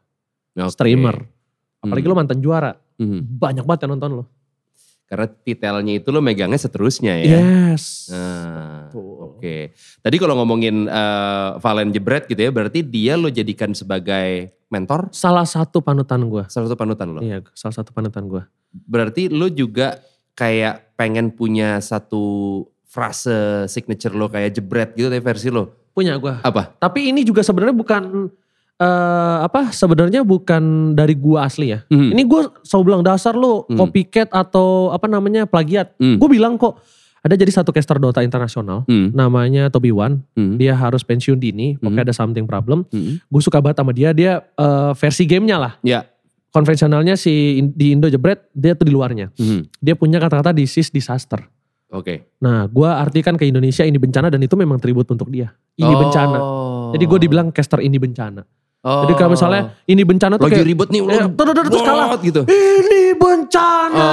Nah,
streamer. Apalagi lo mantan juara, banyak banget yang nonton lo.
Mm-hmm. Karena titelnya itu lo megangnya seterusnya ya.
Yes.
Nah,
Iya. Betul.
Oke. Tadi kalau ngomongin eh, Valen Jebret gitu ya, berarti dia lo jadikan sebagai mentor
Salah satu panutan gue.
salah satu panutan lo.
Iya, salah satu panutan gue.
Berarti lo juga kayak pengen punya satu frase signature lo kayak Jebret gitu deh versi lo.
Punya gue.
Apa?
Tapi ini juga sebenarnya bukan eh apa sebenarnya bukan dari gua asli ya.
Hmm.
Ini gue selalu bilang dasar lo
Hmm.
copycat atau apa namanya plagiat.
Hmm.
Gue bilang kok ada jadi satu caster Dota internasional
Hmm.
namanya Toby Wan.
Hmm.
Dia harus pensiun dini, pokoknya ada something problem.
Hmm.
Gue suka banget sama dia, dia eh, versi gamenya lah.
Ya.
Konvensionalnya si in- di Indo Jebret, dia tuh di luarnya.
Hmm.
Dia punya kata-kata this is disaster.
Oke.
Nah gue artikan ke Indonesia ini bencana dan itu memang tribut untuk dia. Ini
Oh.
bencana. Jadi gue dibilang caster ini bencana.
Oh.
Jadi kalau misalnya ini bencana tuh
lagi
kayak
ribet nih lo.
Eh, terus- terus- terus kalah.
Wot gitu.
ini bencana.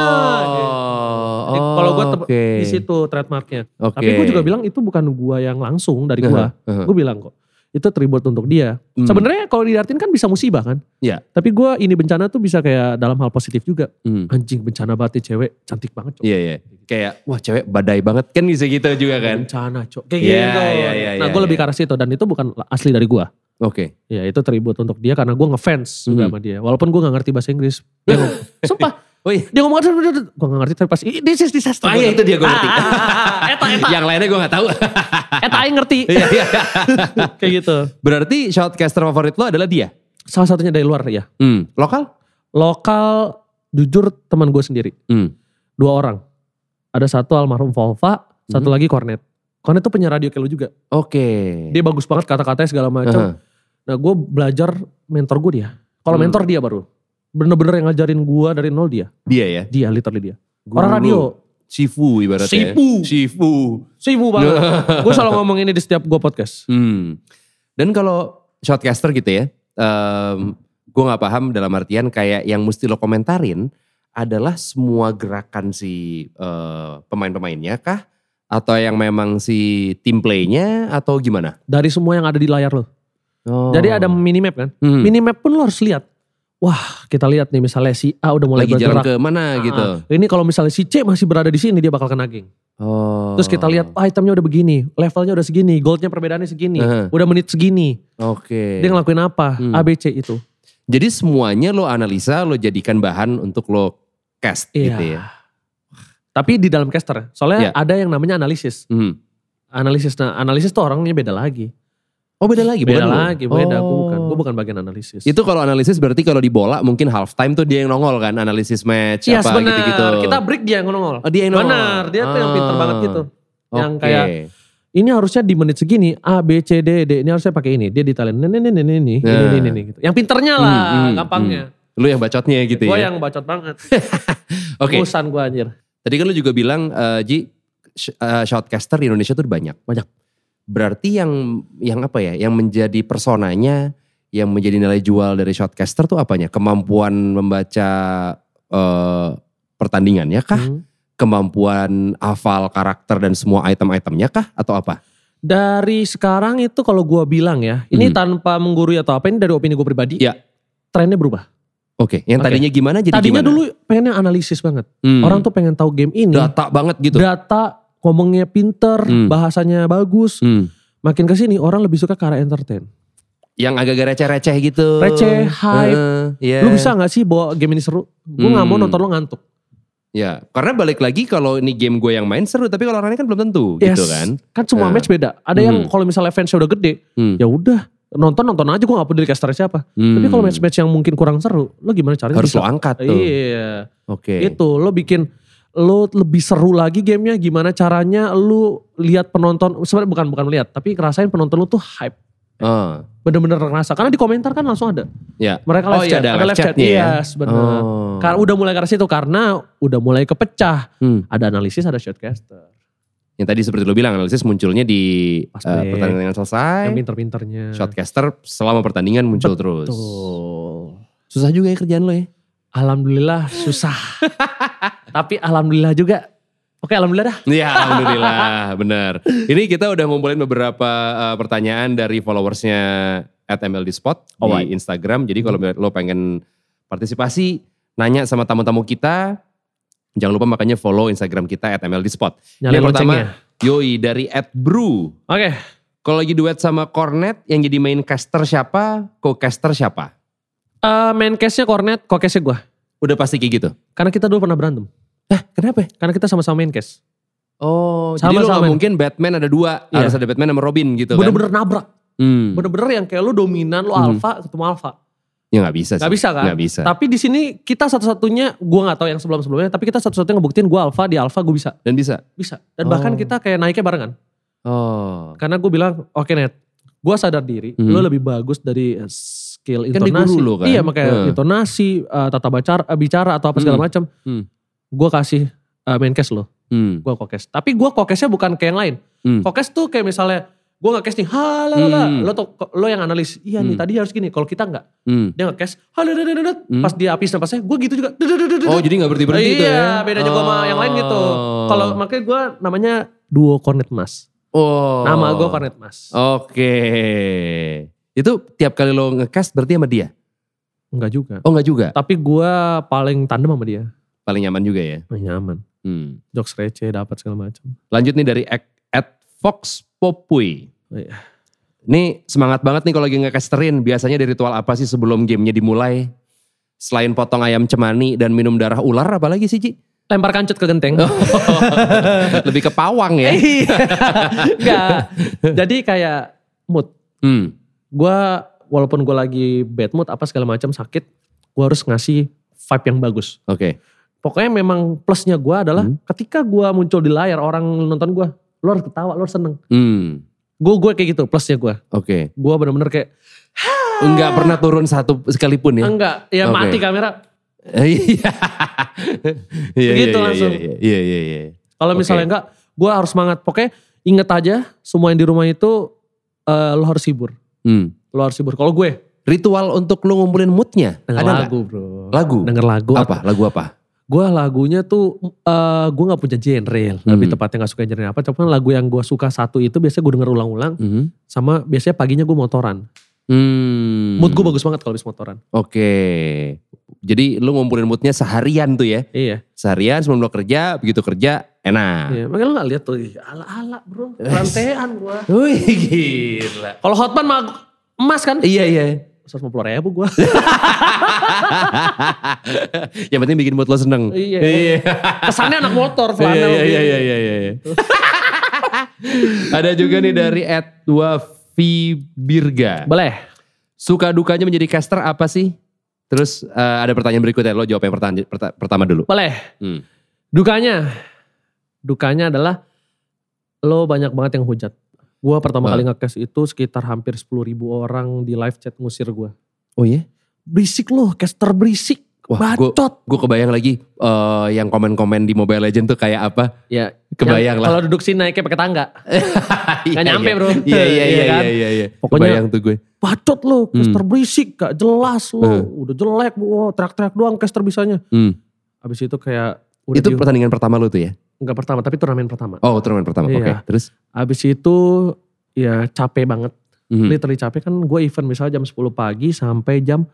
Jadi kalau gue
Oh, oke.
di situ trademarknya.
Oke.
Tapi gue juga bilang itu bukan gua yang langsung dari gua.
Heeh.
Gue bilang kok itu tribut untuk dia.
Hmm.
Sebenarnya kalau diartin kan bisa musibah kan.
Iya.
Tapi gua ini bencana tuh bisa kayak dalam hal positif juga.
Hmm.
Anjing bencana banget nih cewek cantik banget cok.
Iya iya. Kayak wah cewek badai banget kan bisa gitu juga kan.
Bencana cok. Kayak
Iya,
gitu.
iya, iya,
nah
iya,
gue lebih
iya.
ke arah situ dan itu bukan asli dari gua.
Oke.
Ya itu tribut untuk dia karena gua ngefans
Mhm.
juga sama dia. Walaupun gua gak ngerti bahasa Inggris. Dia ngomong, Sumpah.
Oh iya.
Dia ngomong, gue gak ngerti tapi pas, "Ih, this is disaster.
Ah, iya, itu dia gue ngerti.
Ah, ah, ah, Eta, eta,
Yang lainnya gue gak tahu.
eta aing ngerti.
Iya, iya.
Kayak gitu.
Berarti shoutcaster favorit lo adalah dia?
Salah satunya dari luar ya.
Hmm. Lokal?
lokal jujur teman gue sendiri
Hmm.
dua orang ada satu almarhum Volva satu
Mhm.
lagi Cornet Cornet tuh penyiar radio Kelo juga
Oke.
dia bagus banget kata-katanya segala macam
Aha.
nah gue belajar mentor gue dia kalau
Hmm.
mentor dia baru bener-bener yang ngajarin gue dari nol dia
Dia ya?
dia literally dia
Guru.
orang radio
Sifu ibaratnya. ya.
Sifu.
Sifu.
sibuk banget gue selalu ngomong ini di setiap gue podcast
Hmm. Dan kalau shoutcaster gitu ya. em, gue gak paham dalam artian kayak yang mesti lo komentarin. adalah semua gerakan si eh, pemain-pemainnya kah? Atau yang memang si tim playnya atau gimana?
Dari semua yang ada di layar lo.
Oh.
Jadi ada minimap kan.
Hmm.
Minimap pun lo harus lihat. Wah kita lihat nih misalnya si A udah mulai
lagi jalan ke
bergerak.
mana
Ah,
gitu.
Ini kalau misalnya si C masih berada di sini dia bakal kena geng.
Oh.
Terus kita lihat ah, itemnya udah begini, levelnya udah segini, goldnya perbedaannya segini,
Aha.
udah menit segini.
Oke.
Dia ngelakuin apa?
Hmm.
A B C itu.
Jadi semuanya lo analisa, lo jadikan bahan untuk lo cast
Iya.
gitu ya.
Tapi di dalam caster,
Iya.
soalnya ada yang namanya analisis.
Hmm.
Analisis, nah analisis tuh orangnya beda lagi.
Oh beda lagi, bukan
beda
lo?
lagi, beda. Gue bukan,
Oh.
gue bukan bagian analisis.
Itu kalau analisis berarti kalau di bola mungkin halftime tuh dia yang nongol kan analisis match
Iya
apa
benar.
gitu-gitu.
Kita break dia yang nongol.
Oh, dia yang nongol.
Benar, dia tuh yang pinter
Ah,
banget gitu. Yang
oke.
kayak ini harusnya di menit segini A B C D D ini harusnya pakai ini. Dia detailin ini ini ini ini ini
Nah.
ini, ini, ini gitu. Yang pinternya lah,
Hmm, hmm,
gampangnya.
lu yang bacotnya gitu
gue
ya.
yang bacot banget.
Oke.
Urusan gue anjir.
Tadi kan lu juga bilang eh, Ji sh- eh, shoutcaster di Indonesia tuh banyak.
Banyak.
Berarti yang yang apa ya? Yang menjadi personanya, yang menjadi nilai jual dari shoutcaster tuh apanya? Kemampuan membaca eh, pertandingannya kah?
Hmm.
Kemampuan hafal karakter dan semua item-itemnya kah? Atau apa?
Dari sekarang itu kalau gue bilang ya,
Hmm.
ini tanpa menggurui atau apa ini dari opini gue pribadi.
Iya.
Trennya berubah.
Oke, yang
Oke.
tadinya gimana jadi
Tadinya
gimana?
dulu pengennya analisis banget.
Hmm.
Orang tuh pengen tahu game ini,
data banget gitu.
data ngomongnya pinter,
Hmm.
bahasanya bagus.
Hmm.
Makin kesini orang lebih suka ke arah entertain.
Yang agak-agak receh-receh gitu.
Receh, hype.
Heeh, iya.
Lu bisa nggak sih bawa game ini seru? Gue nggak mau
Hmm.
nonton lo ngantuk.
Ya, karena balik lagi kalau ini game gue yang main seru, tapi kalau orangnya kan belum tentu gitu kan.
Kan semua
Nah.
match beda. Ada yang
Hmm.
kalau misalnya fansnya udah gede,
Hmm.
ya udah nonton nonton aja gue nggak peduli caster siapa. Tapi
Hmm.
kalau match-match yang mungkin kurang seru, lo gimana caranya
harus lo
bisa?
angkat tuh.
Iya.
Oke.
Itu lo bikin lo lebih seru lagi gamenya gimana caranya lu lihat penonton sebenarnya bukan bukan melihat tapi ngerasain penonton lu tuh hype
Ah,
bener-bener ngerasa karena di komentar kan langsung ada
ya.
mereka
Oh
live
iya
chat
ada
mereka
live chatnya ya.
Yes, bener
Oh.
Karena udah mulai ke arah situ karena udah mulai kepecah.
Hmm.
Ada analisis, ada shotcaster.
Yang tadi seperti lo bilang analisis munculnya di
Pas
eh,
break.
pertandingan selesai.
Yang pinter-pinternya.
Shotcaster selama pertandingan muncul terus.
Tuh.
Susah juga ya kerjaan lo ya.
Alhamdulillah susah. Tapi alhamdulillah juga. Oke, alhamdulillah dah.
Iya alhamdulillah benar. Ini kita udah ngumpulin beberapa eh, pertanyaan dari followersnya at MLDspot di
Alright. Mhm.
Instagram. Jadi kalau lo pengen partisipasi, nanya sama tamu-tamu kita, jangan lupa makanya follow Instagram kita at MLDspot.
Nyalain
Yang pertama,
loncengnya.
Yoi dari at Brew.
Oke.
Kalau lagi duet sama Cornet, yang jadi main caster siapa, co-caster siapa?
Eh, main case-nya Cornet, kok case-nya gue.
Udah pasti kayak gitu.
Karena kita dulu pernah berantem.
Eh, Kenapa?
Karena kita sama-sama main case.
Oh,
Sama-sama.
jadi lo nggak mungkin Batman ada dua,
Iya.
harus ada Batman sama Robin gitu kan?
Bener-bener nabrak.
Hmm.
Bener-bener yang kayak lu dominan, lu
Hmm.
alfa, ketemu alfa.
Ya nggak bisa sih.
Gak bisa kan?
Nggak bisa.
Tapi di sini kita satu-satunya, gue gak tahu yang sebelum-sebelumnya, tapi kita satu-satunya ngebuktiin gue alfa, di alfa gue bisa.
Dan bisa.
Bisa. Dan bahkan
Oh.
kita kayak naiknya barengan.
Oh.
Karena gue bilang, oke Net, gue sadar diri,
Mhm.
lo lebih bagus dari eh, skill
Kan di
intonasi.
guru lo kan?
Iya makanya
Hmm.
intonasi, eh, tata bacar, eh, bicara atau apa segala
Hmm.
macam.
Hmm.
Gue kasih eh, main case lo,
Hmm.
gue kokes. Tapi gue kokesnya bukan kayak yang lain.
Hmm.
Kokes tuh kayak misalnya, gue nggak case nih, halalala.
Hmm.
Lo, tuh, lo yang analis, iya nih
Hmm.
tadi harus gini. Kalau kita nggak,
Hmm.
dia nggak case, halalala.
Hmm.
Pas dia habis napasnya, gue gitu juga.
Oh jadi gak berhenti berhenti tuh ya?
Iya, bedanya gue sama yang lain gitu.
Oh.
Kalau makanya gue namanya duo cornet mas.
oh.
Nama gue cornet mas.
Oke. Itu tiap kali lo ngecast berarti sama dia?
Enggak juga.
Oh nggak juga?
Tapi gue paling tandem sama dia.
Paling nyaman juga ya?
Paling nyaman.
Hmm.
Jokes receh dapat segala macam.
Lanjut nih dari at, at Fox Popui.
Oh iya.
Nih semangat banget nih kalau lagi ngecasterin. Biasanya di ritual apa sih sebelum gamenya dimulai? Selain potong ayam cemani dan minum darah ular apalagi sih Ji?
Lempar kancut ke genteng.
Lebih ke pawang ya?
Enggak. Jadi kayak mood.
Hmm.
Gue walaupun gue lagi bad mood apa segala macam sakit. Gue harus ngasih vibe yang bagus.
Oke.
Pokoknya memang plusnya gue adalah
Hmm.
ketika gue muncul di layar orang nonton gue. Lo harus ketawa, lo harus seneng.
Hmm.
Gue gue kayak gitu plusnya gue.
Oke.
Gue bener-bener kayak
Enggak pernah turun satu sekalipun ya.
enggak. Ya
Oke.
mati kamera.
Iya. Iya, iya,
Begitu
iya,
langsung.
Iya, iya, iya. iya.
Kalau
Oke.
misalnya enggak, gue harus semangat. Pokoknya inget aja semua yang di rumah itu eh, lo harus hibur.
Hmm.
Lo harus hibur. Kalau gue
Ritual untuk lu ngumpulin moodnya ada
denger
nggak?
lagu bro.
Lagu.
Denger lagu.
Apa? Lagu apa?
gue lagunya tuh eh gue nggak punya genre
Hmm.
lebih tepatnya nggak suka genre apa cuman lagu yang gue suka satu itu biasanya gue denger ulang-ulang
Mhm.
sama biasanya paginya gue motoran
Hmm.
mood gue bagus banget kalau habis motoran
Oke. Jadi lu ngumpulin moodnya seharian tuh ya.
iya
Seharian sebelum lu kerja, begitu kerja enak.
iya makanya lo nggak lihat tuh ih, ala-ala bro rantean gue
Wih gila.
kalau hotman mah emas kan
Iya iya.
150 ribu gue
Yang penting bikin mood lo seneng.
Iya.
Iya.
kesannya anak motor
Iya
flanel
iya iya iya iya. iya. Ada juga nih dari at Birga.
boleh
Suka dukanya menjadi caster apa sih? Terus eh, ada pertanyaan berikutnya lo jawab yang pertanya- perta- pertama dulu.
boleh
Hmm.
dukanya dukanya adalah lo banyak banget yang hujat gue
Ah.
pertama kali ngekes itu sekitar hampir 10.000 ribu orang di live chat ngusir gue
Oh iya.
berisik loh, caster berisik,
Wah, gue
bacot.
gue kebayang lagi eh, yang komen-komen di Mobile Legend tuh kayak apa?
Ya,
Kebayang lah.
Kalau duduk sini naiknya pakai tangga.
Iya,
nyampe,
iya.
bro.
Iya iya
Iya Hmm.
iya
kan?
iya iya. iya.
Pokoknya-
Kebayang tuh gue.
Bacot lo, caster berisik, gak jelas lo.
Eh.
Udah jelek, wow, teriak-teriak doang caster bisanya.
Hmm.
Abis itu kayak udah
Itu
di-
pertandingan pertama lo tuh ya?
nggak pertama, tapi turnamen pertama.
Oh turnamen pertama. Oke.
Iya.
Terus?
Abis itu ya capek banget.
Mhm.
Literally capek kan gue event misalnya jam 10 pagi sampai jam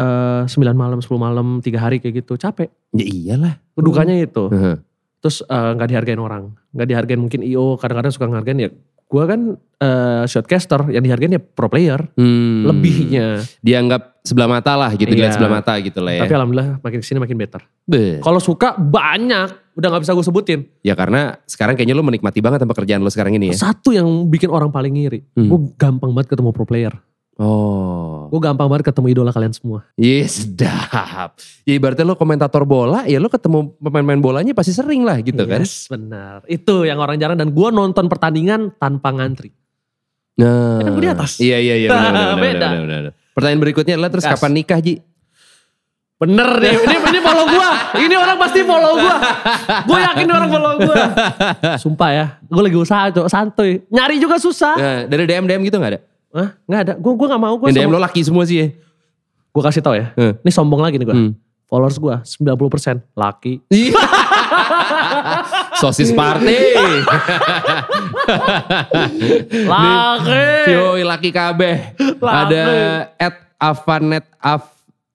eh, 9 malam, 10 malam, 3 hari kayak gitu. Capek.
Ya iyalah.
Dukanya itu.
Heeh.
terus eh, nggak dihargain orang nggak dihargain mungkin io kadang-kadang suka ngehargain ya gue kan eh, shotcaster yang dihargain ya pro player
Hmm.
lebihnya
Dianggap sebelah mata lah gitu.
Iya.
Dilihat sebelah mata gitu lah ya.
tapi alhamdulillah makin kesini makin better
Beh.
kalau suka banyak udah nggak bisa gue sebutin
Ya karena sekarang kayaknya lo menikmati banget sama kerjaan lo sekarang ini ya.
satu yang bikin orang paling ngiri
Hmm.
gue gampang banget ketemu pro player
Oh.
gue gampang banget ketemu idola kalian semua
Iya sedap. Ya ibaratnya lo komentator bola ya lo ketemu pemain-pemain bolanya pasti sering lah gitu kan.
Yes, benar itu yang orang jarang dan gue nonton pertandingan tanpa ngantri
Nah.
Ya kan gue di atas.
Iya iya iya. benar, benar, benar,
Beda.
benar, benar, benar. Pertanyaan berikutnya adalah terus
Gas.
kapan nikah Ji?
bener deh ini ini follow gue ini orang pasti follow gue gue yakin ini orang follow gue sumpah ya gue lagi usaha cok santuy nyari juga susah
Nah, dari DM DM gitu nggak ada?
Hah? Nggak ada. Gue gua nggak mau gue.
Yang DM lo laki semua sih ya.
Gue kasih tau ya.
Eh.
Ini sombong lagi nih gue.
Hmm.
Followers gue 90% laki.
Iya. Sosis party.
Laki.
Yoi laki kabeh.
Laki.
Ada at Avanet Av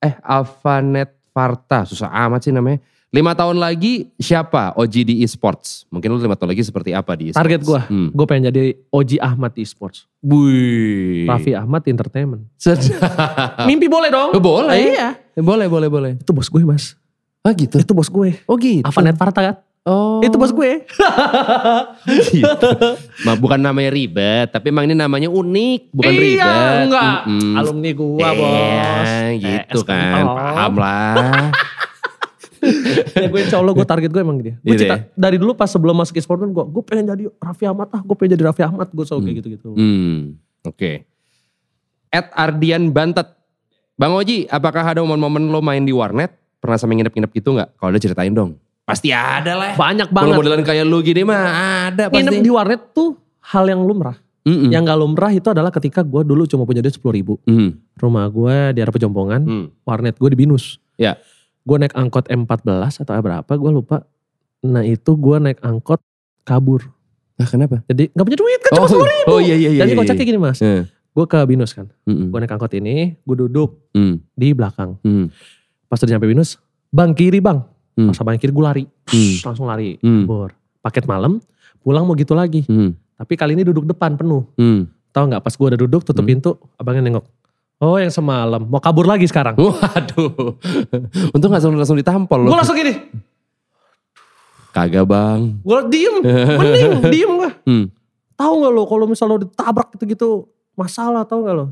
eh Avanet Varta susah amat sih namanya. Lima tahun lagi siapa OG di esports? Mungkin lu lima tahun lagi seperti apa di esports?
Target gue.
Hmm.
Gue pengen jadi Oji Ahmad di esports.
Wih.
Raffi Ahmad Entertainment.
Sedap.
Mimpi boleh dong.
Eh, boleh.
Iya.
Boleh, boleh, boleh.
Itu bos gue mas.
Ah gitu.
Itu bos gue.
Oh gitu.
Avanet Parta kan.
Oh.
Itu bos gue.
gitu. Ma, bukan namanya ribet, tapi emang ini namanya unik, bukan
iya,
ribet.
enggak.
Mm-mm.
Alumni gue
Iya,
bos.
gitu
Eh,
kan.
SKPL.
Paham lah.
ya gue insya Allah gue target gue emang gitu. Gue
Gitu
cita, dari dulu pas sebelum masuk e-sport pun gue, gue pengen jadi Raffi Ahmad ah, gue pengen jadi Raffi Ahmad, gue selalu kayak gitu-gitu.
hmm, oke. At Ardian Bantet. Bang Oji, apakah ada momen-momen lo main di warnet? Pernah sampai nginep-nginep gitu nggak? Kalau ada ceritain dong. Pasti ada lah.
Banyak
Kalau
banget.
modelan kayak lu gini mah ada
Nginep
pasti.
di warnet tuh hal yang lumrah.
Mm-mm.
Yang gak lumrah itu adalah ketika gue dulu cuma punya duit 10 ribu.
Mm.
Rumah gue di arah pejompongan,
Mm.
warnet gue di Binus.
Ya.
Gue naik angkot M14 atau berapa, gue lupa. Nah itu gue naik angkot kabur.
Ah, kenapa?
Jadi gak punya duit kan cuma 10 ribu.
oh iya iya iya. iya,
Dan ini kocaknya
iya.
gini mas,
Eh,
gue ke Binus kan.
mm-mm.
Gue naik angkot ini, gue duduk
Mm,
di belakang.
mm,
Pas udah nyampe Binus, bang kiri bang.
Hmm.
Pas bang kiri gue lari.
Hmm.
Langsung lari.
Hmm.
Bor. Paket malam, pulang mau gitu lagi.
mm,
Tapi kali ini duduk depan penuh.
mm.
Tahu nggak pas gue udah duduk tutup
Hmm.
pintu, abangnya nengok. Oh yang semalam, mau kabur lagi sekarang.
Waduh. Untung gak langsung, langsung ditampol lo.
Gue langsung gini,
Kagak bang.
gue diem, mending diem gue.
Hmm.
Tahu nggak lo kalau misal lo ditabrak gitu-gitu, masalah tahu nggak lo?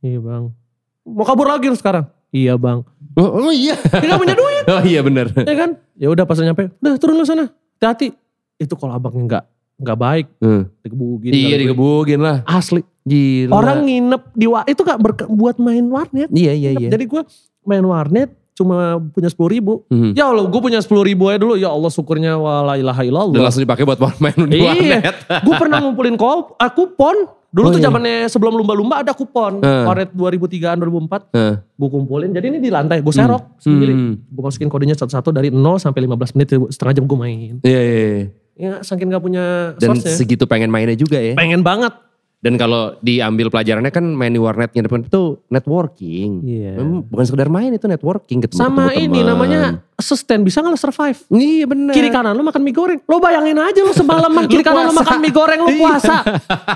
Iya bang. Mau kabur lagi lo sekarang? Iya bang.
Oh, oh iya.
Dia nggak punya duit,
Oh iya bener.
ya kan? Ya udah pas nyampe, udah turun lo sana, hati-hati. Itu kalau abangnya nggak nggak baik,
Hmm.
digebukin.
Iya
kali.
digebukin lah.
Asli.
Gila.
Orang nginep di wa itu gak berke- buat main warnet.
Iya iya iya.
Jadi gue main warnet cuma punya sepuluh ribu.
Mhm.
Ya Allah, gue punya sepuluh ribu aja dulu. Ya Allah, syukurnya wala ilaha
Dan
illallah.
langsung dipakai buat main di warnet.
Iya, gue pernah ngumpulin ko- eh, kupon
Oh,
Dulu tuh
iya. Hmm.
zamannya sebelum lumba-lumba ada kupon.
Heeh.
Koret 2003-an 2004
Heeh.
gue kumpulin. Jadi ini di lantai gue serok sendiri.
Hmm.
Gue masukin kodenya satu-satu dari 0 sampai 15 menit setengah jam gue main.
Iya, iya, iya.
Ya saking gak punya
Dan
source ya.
segitu pengen mainnya juga ya.
Pengen banget.
Dan kalau diambil pelajarannya kan main di warnetnya depan itu networking.
Iya.
Memang Bukan sekedar main itu networking ketemu
Sama
ketemu
ini
teman.
namanya sustain bisa gak lo survive?
Iya benar.
Kiri kanan lu makan mie goreng. Lu bayangin aja lu semalaman kiri
Lu
kanan lu
puasa.
makan mie goreng lu
Iya.
puasa.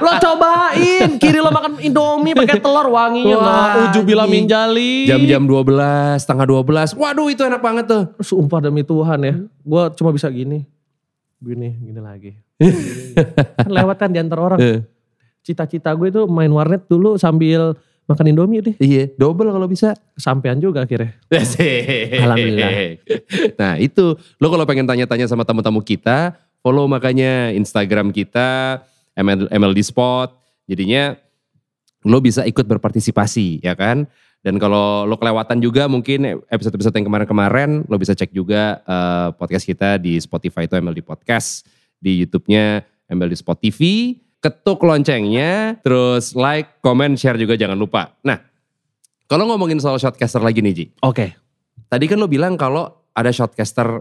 lu cobain kiri lu makan indomie pakai telur ya wanginya
Wah,
lah. Ujubila
anjing.
minjali.
Jam-jam 12, setengah 12. Waduh itu enak banget tuh.
Sumpah demi Tuhan
Hmm.
ya. Gua cuma bisa gini. Gini, gini lagi. kan lewat kan diantar orang.
Eh,
Cita-cita gue itu main warnet dulu sambil makan indomie deh.
iya, double kalau bisa.
Kesampean juga akhirnya.
Alhamdulillah. Nah itu, lo kalau pengen tanya-tanya sama tamu-tamu kita, follow makanya Instagram kita, ML, MLD Spot. Jadinya lo bisa ikut berpartisipasi ya kan. Dan kalau lo kelewatan juga mungkin episode-episode yang kemarin-kemarin, lo bisa cek juga eh, podcast kita di Spotify itu MLD Podcast. Di Youtubenya MLD Spot TV. Ketuk loncengnya, terus like, comment, share juga jangan lupa. Nah, kalau ngomongin soal shotcaster lagi nih Ji.
Oke.
Tadi kan lo bilang kalau ada shotcaster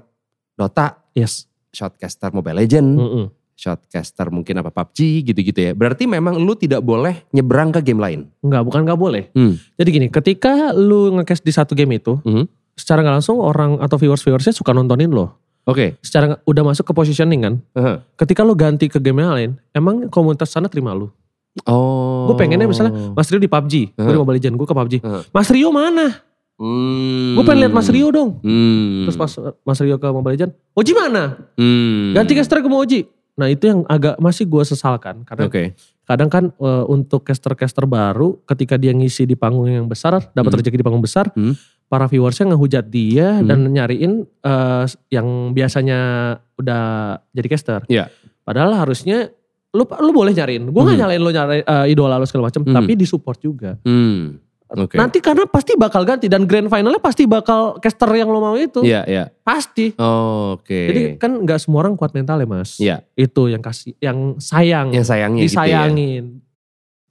Dota,
Yes.
shotcaster Mobile Legend,
Mm-mm.
shotcaster mungkin apa PUBG gitu-gitu ya. Berarti memang lu tidak boleh nyebrang ke game lain.
Enggak, bukan enggak boleh.
Hmm.
Jadi gini, ketika lu nge-cash di satu game itu,
Mhm.
secara nggak langsung orang atau viewers-viewersnya suka nontonin lo.
Oke.
secara nggak- udah masuk ke positioning kan.
Heeh.
Ketika lo ganti ke game yang lain, emang komunitas sana terima lo.
Oh.
Gue pengennya misalnya Mas Rio di PUBG, gue di
Heeh.
Mobile Legends, gue ke PUBG.
Heeh.
Mas Rio mana?
Hmm.
Gue pengen lihat Mas Rio dong.
Hmm.
Terus pas Mas Rio ke Mobile Legends, Oji mana?
Hmm.
Ganti caster gue mau Oji. Nah itu yang agak masih gue sesalkan
Oke.
karena kadang kan e, untuk caster-caster baru ketika dia ngisi di panggung yang besar dapat
Hmm.
rezeki di panggung besar
Hmm.
para viewersnya ngehujat dia
Hmm.
dan nyariin e, yang biasanya udah jadi caster
Iya.
padahal harusnya lu lu boleh nyariin gue nggak
Hmm.
nyalain lu nyari e, idola lu segala macam
Hmm.
tapi disupport juga
Hmm. Oke.
nanti karena pasti bakal ganti dan grand finalnya pasti bakal caster yang lo mau itu
Iya, iya.
pasti
Oke.
jadi kan nggak semua orang kuat mental ya mas
Iya.
itu yang kasih yang sayang
yang sayangnya gitu ya.
disayangin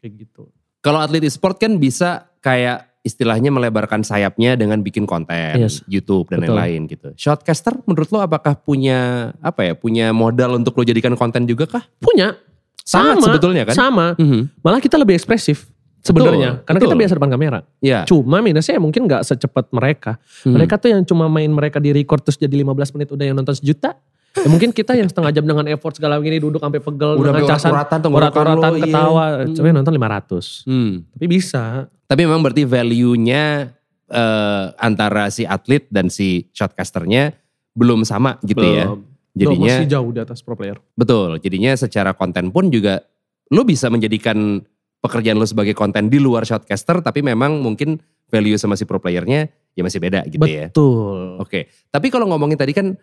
kayak gitu
Kalau atlet e-sport kan bisa kayak istilahnya melebarkan sayapnya dengan bikin konten
Yes.
YouTube dan
Betul.
lain-lain gitu. Shotcaster menurut lo apakah punya apa ya punya modal untuk lo jadikan konten juga kah?
punya
Sangat
Sama.
sebetulnya kan?
sama Mm-hmm.
Mhm.
malah kita lebih ekspresif sebenarnya karena kita
betul.
biasa depan kamera
Iya.
cuma minusnya ya mungkin nggak secepat mereka
Hmm.
mereka tuh yang cuma main mereka di record terus jadi 15 menit udah yang nonton sejuta ya mungkin kita yang setengah jam dengan effort segala gini duduk sampai pegel
udah
casan
urat-uratan tenggorokan lo,
urat-uratan
iya.
ketawa
Hmm.
cuma yang nonton 500
Hmm.
tapi bisa
Tapi memang berarti value-nya eh, antara si atlet dan si shotcasternya belum sama gitu ya.
Belum. Belum,
Jadinya
masih jauh di atas pro player
Betul, jadinya secara konten pun juga lo bisa menjadikan pekerjaan lo sebagai konten di luar shotcaster tapi memang mungkin value sama si pro playernya ya masih beda gitu ya.
betul
Oke, tapi kalau ngomongin tadi kan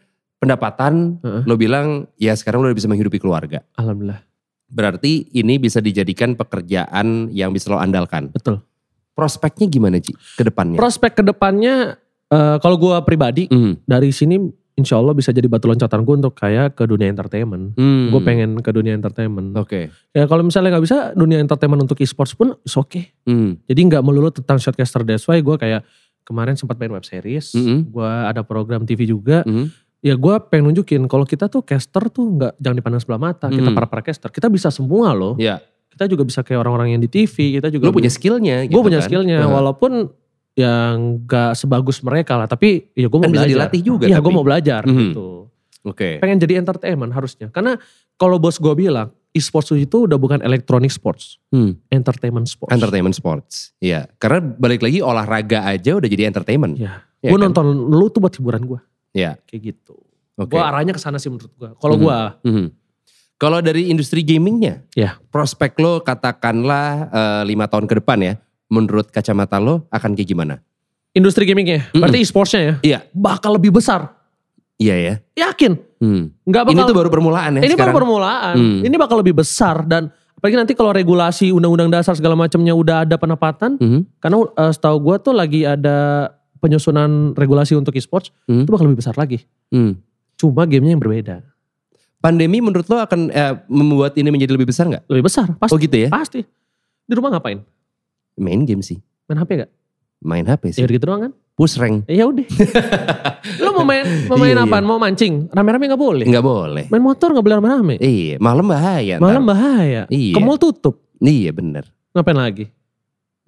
pendapatan
Heeh.
lo bilang ya sekarang lo udah bisa menghidupi keluarga.
alhamdulillah
Berarti ini bisa dijadikan pekerjaan yang bisa lo andalkan.
betul
Prospeknya gimana Ci ke depannya?
prospek kedepannya eh, kalau gue pribadi
Hmm.
dari sini insya Allah bisa jadi batu loncatan gue untuk kayak ke dunia entertainment
Hmm.
gue pengen ke dunia entertainment.
Oke.
Ya kalau misalnya nggak bisa dunia entertainment untuk e-sports pun oke.
Hmm.
Jadi nggak melulu tentang shortcaster that's why gue kayak kemarin sempat main web series,
Mhm.
gue ada program TV juga.
Hmm.
Ya gue pengen nunjukin kalau kita tuh caster tuh nggak jangan dipandang sebelah mata. Kita
Mhm.
para para caster, kita bisa semua loh.
Ya,
Kita juga bisa kayak orang-orang yang di TV. Kita
lo
juga
punya skillnya.
gue punya
kan.
skillnya
Heeh.
walaupun yang nggak sebagus mereka lah. Tapi ya gue mau
Kan bisa
belajar.
dilatih juga.
Iya
tapi.
gue mau belajar
Mhm.
gitu.
Oke.
pengen jadi entertainment harusnya. Karena kalau bos gue bilang, e-sports itu udah bukan electronic sports,
Hmm.
entertainment sports.
Entertainment sports. Iya, karena balik lagi olahraga aja udah jadi entertainment.
Ya.
Iya
gue
kan?
nonton lu tuh buat hiburan gue.
Iya.
Kayak gitu.
Oke.
Gue arahnya ke sana sih menurut gue.
Mhm.
Kalau gue,
Mhm. Kalau dari industri gamingnya,
Iya.
prospek lo katakanlah eh, lima tahun ke depan ya, menurut kacamata lo akan kayak gimana?
industri gamingnya,
Mhm.
berarti e-sportsnya ya,
Iya.
bakal lebih besar.
Iya ya.
Yakin?
Hmm.
Nggak bakal.
Ini tuh baru permulaan ya
ini baru
sekarang.
permulaan.
Hmm.
Ini bakal lebih besar dan apalagi nanti kalau regulasi undang-undang dasar segala macamnya udah ada penempatan.
Mhm.
Karena eh, setahu gue tuh lagi ada penyusunan regulasi untuk e-sports
Mhm.
itu bakal lebih besar lagi.
Hmm.
Cuma gamenya yang berbeda.
Pandemi menurut lo akan eh, membuat ini menjadi lebih besar nggak?
Lebih besar,
Oh
pasti.
gitu ya?
Pasti. Di rumah ngapain?
Main game sih,
Main HP gak?
main HP sih.
Ya udah gitu doang kan?
Push rank
Ya udah. Lu mau main mau main
Iya, iya.
apaan? Mau mancing? Rame-rame gak boleh.
nggak boleh.
Main motor gak boleh rame-rame.
Iya, malam bahaya. ntar.
Malam bahaya.
Iya.
Ke mall tutup.
Iya bener.
Ngapain lagi?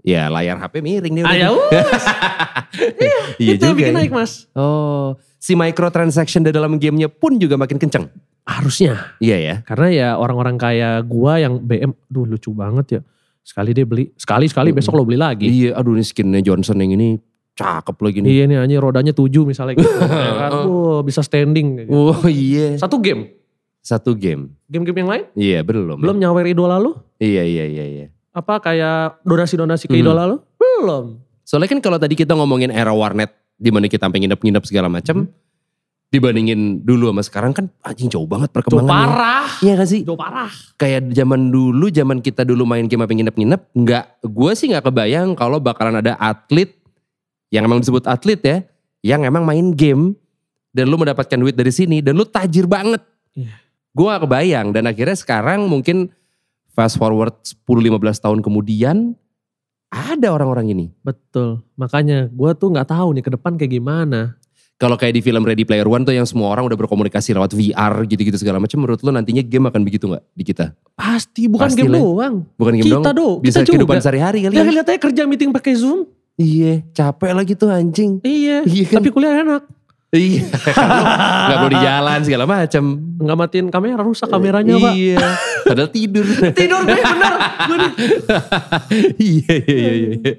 Ya layar HP miring dia.
Ah, ya
udah.
udah.
Iya
Itu yang
juga.
bikin
ya.
naik mas.
Oh, si microtransaction di dalam gamenya pun juga makin kenceng.
Harusnya.
Iya ya.
Karena ya orang-orang kaya gua yang BM. Duh lucu banget ya. Sekali dia beli. Sekali-sekali
Mm-mm.
besok lo beli lagi.
Iya, aduh ini skinnya Johnson yang ini cakep lagi nih.
Iya nih anjir rodanya tujuh misalnya gitu. ya kan?
Heeh.
Wah, bisa standing. kayak gitu.
Oh iya.
Satu game.
Satu game.
Game-game yang lain?
Iya belum.
Belum nyawer idola lu?
Iya iya iya iya.
Apa kayak donasi-donasi ke
Mhm.
idola lu? Belum.
Soalnya kan kalau tadi kita ngomongin era warnet di mana kita sampai nginep-nginep segala macam dibandingin dulu sama sekarang kan anjing jauh banget
Jauh
perkembangannya.
parah.
Iya gak sih?
Jauh parah.
Kayak zaman dulu, zaman kita dulu main game apa nginep-nginep, nggak, gue sih nggak kebayang kalau bakalan ada atlet yang emang disebut atlet ya, yang emang main game dan lu mendapatkan duit dari sini dan lu tajir banget.
Iya.
Gue gak kebayang dan akhirnya sekarang mungkin fast forward 10-15 tahun kemudian ada orang-orang ini.
Betul. Makanya gue tuh nggak tahu nih ke depan kayak gimana.
Kalau kayak di film Ready Player One tuh yang semua orang udah berkomunikasi lewat VR gitu-gitu segala macam, menurut lu nantinya game akan begitu nggak di kita?
Pasti bukan
Pasti
game
lah.
doang.
Bukan game
kita
dong,
dong.
bisa
kita
kehidupan
juga.
sehari-hari kali
Ya
ya.
lihat aja kerja meeting pakai Zoom.
Iya, capek lagi tuh anjing.
Iya.
Iya kan?
Tapi kuliah enak.
Iya. Gak boleh di jalan segala macam.
Nggak matiin kamera rusak kameranya pak.
Iya. Padahal tidur.
Tidur gue bener. Gua nih.
iya, iya, iya, iya.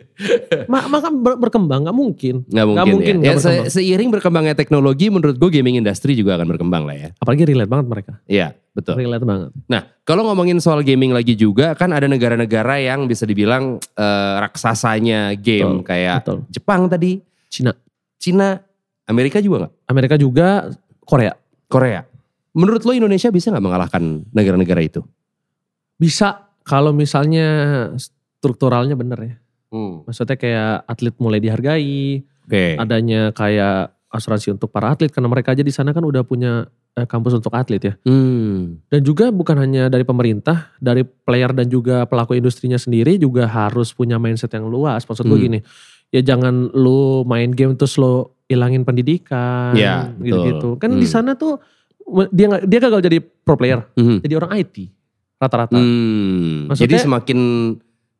Ma- maka ber- berkembang nggak mungkin.
Gak mungkin,
mungkin
ya. Ya,
nggak
se-
berkembang.
seiring berkembangnya teknologi menurut gue gaming industry juga akan berkembang lah ya.
Apalagi relate banget mereka.
Iya, betul.
Relate banget.
Nah, kalau ngomongin soal gaming lagi juga kan ada negara-negara yang bisa dibilang eh, raksasanya game kayak
Betul.
Jepang tadi,
Cina.
Cina, Amerika juga nggak?
Amerika juga Korea.
Korea. Menurut lo Indonesia bisa nggak mengalahkan negara-negara itu?
Bisa kalau misalnya strukturalnya bener ya.
Hmm.
Maksudnya kayak atlet mulai dihargai,
Oke.
adanya kayak asuransi untuk para atlet karena mereka aja di sana kan udah punya eh, kampus untuk atlet ya.
Hmm.
Dan juga bukan hanya dari pemerintah, dari player dan juga pelaku industrinya sendiri juga harus punya mindset yang luas. Maksud gue
Hmm.
gini, ya jangan lu main game terus lu ilangin pendidikan
Ya, betul.
gitu-gitu. Kan di
Hmm.
sana tuh dia nggak- dia gagal jadi pro player,
Mhm.
jadi orang IT rata-rata.
Hmm.
Maksudnya-
Jadi semakin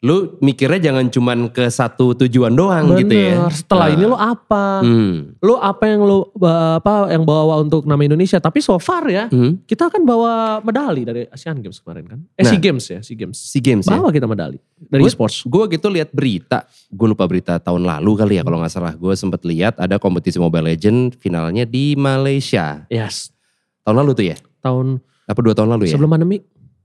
lu mikirnya jangan cuman ke satu tujuan doang gitu ya.
Bener. Setelah
Ah.
ini lo apa?
Hmm.
Lo apa yang lo apa yang bawa untuk nama Indonesia? Tapi so far ya
Hmm.
kita kan bawa medali dari Asian Games kemarin kan? Eh
Nah.
Sea Games ya, Sea Games.
Si games ya.
Bawa kita medali dari
Gua-
sports.
Gue gitu lihat berita, gue lupa berita tahun lalu kali ya kalau nggak salah. Gue sempet lihat ada kompetisi Mobile Legend finalnya di Malaysia.
Yes.
Tahun lalu tuh ya?
Tahun
Apa dua tahun lalu ya?
sebelum pandemi.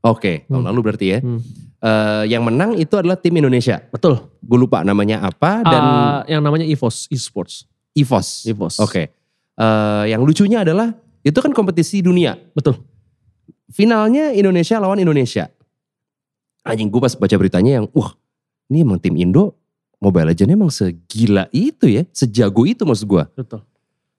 Oke, tahun
Hmm.
lalu berarti ya.
Hmm.
Eh, yang menang itu adalah tim Indonesia.
Betul.
Gue lupa namanya apa dan
Ah, yang namanya EVOS, esports.
EVOS.
EVOS.
Oke. Eh, yang lucunya adalah itu kan kompetisi dunia.
Betul.
Finalnya Indonesia lawan Indonesia. Anjing gue pas baca beritanya yang wah ini emang tim Indo Mobile Legends emang segila itu ya. Sejago itu maksud gue.
Betul.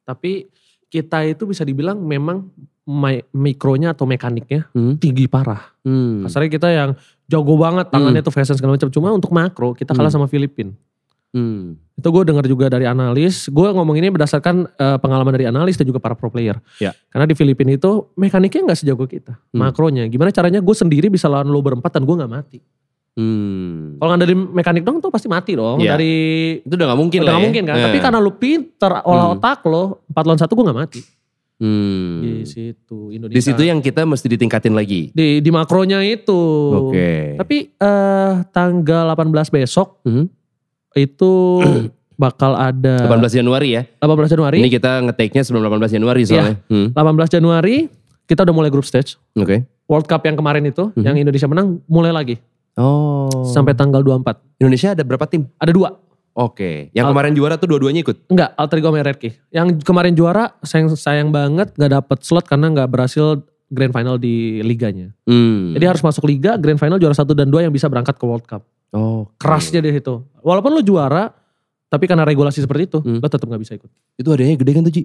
Tapi kita itu bisa dibilang memang mi- mikronya atau mekaniknya
Hmm.
tinggi parah.
Hmm.
Kasarnya kita yang jago banget tangannya tuh fashion segala macam. Cuma untuk makro kita kalah
Hmm.
sama Filipina.
Hmm.
Itu gue dengar juga dari analis. Gue ngomong ini berdasarkan eh, pengalaman dari analis dan juga para pro player.
Ya.
Karena di Filipina itu mekaniknya nggak sejago kita.
Hmm.
Makronya. Gimana caranya gue sendiri bisa lawan lo berempat dan gue nggak mati.
Hmm.
Kalau nggak dari mekanik dong tuh pasti mati dong.
Ya.
Dari
Itu udah gak mungkin
udah
lah
nggak
ya.
mungkin kan.
Eh.
Tapi karena lo pinter olah
Hmm.
otak lo. Empat lawan satu gue nggak mati.
Hmm.
Di situ Indonesia.
Di situ ya? yang kita mesti ditingkatin lagi.
Di, di makronya itu.
Oke.
Tapi Hmm. eh tanggal 18 besok
Mhm.
itu bakal ada
18 Januari ya.
18 Januari.
Ini kita ngeteknya sebelum 18
Iya.
Januari soalnya. Hmm.
18 Januari kita udah mulai group stage.
Oke.
World Cup yang kemarin itu
Mhm.
yang Indonesia menang mulai lagi
Oh.
sampai tanggal 24.
Indonesia ada berapa tim?
Ada dua.
Oke, yang
Al-
kemarin juara tuh dua-duanya ikut.
Enggak, Alter Ego sama RRQ. Yang kemarin juara sayang sayang banget nggak dapet slot karena nggak berhasil grand final di liganya.
Hmm.
Jadi harus masuk liga grand final juara satu dan dua yang bisa berangkat ke World Cup.
oh,
Kerasnya di situ. Walaupun lu juara tapi karena regulasi seperti itu
Hmm.
lo tetap nggak bisa ikut.
Itu adanya gede kan tuh Ji?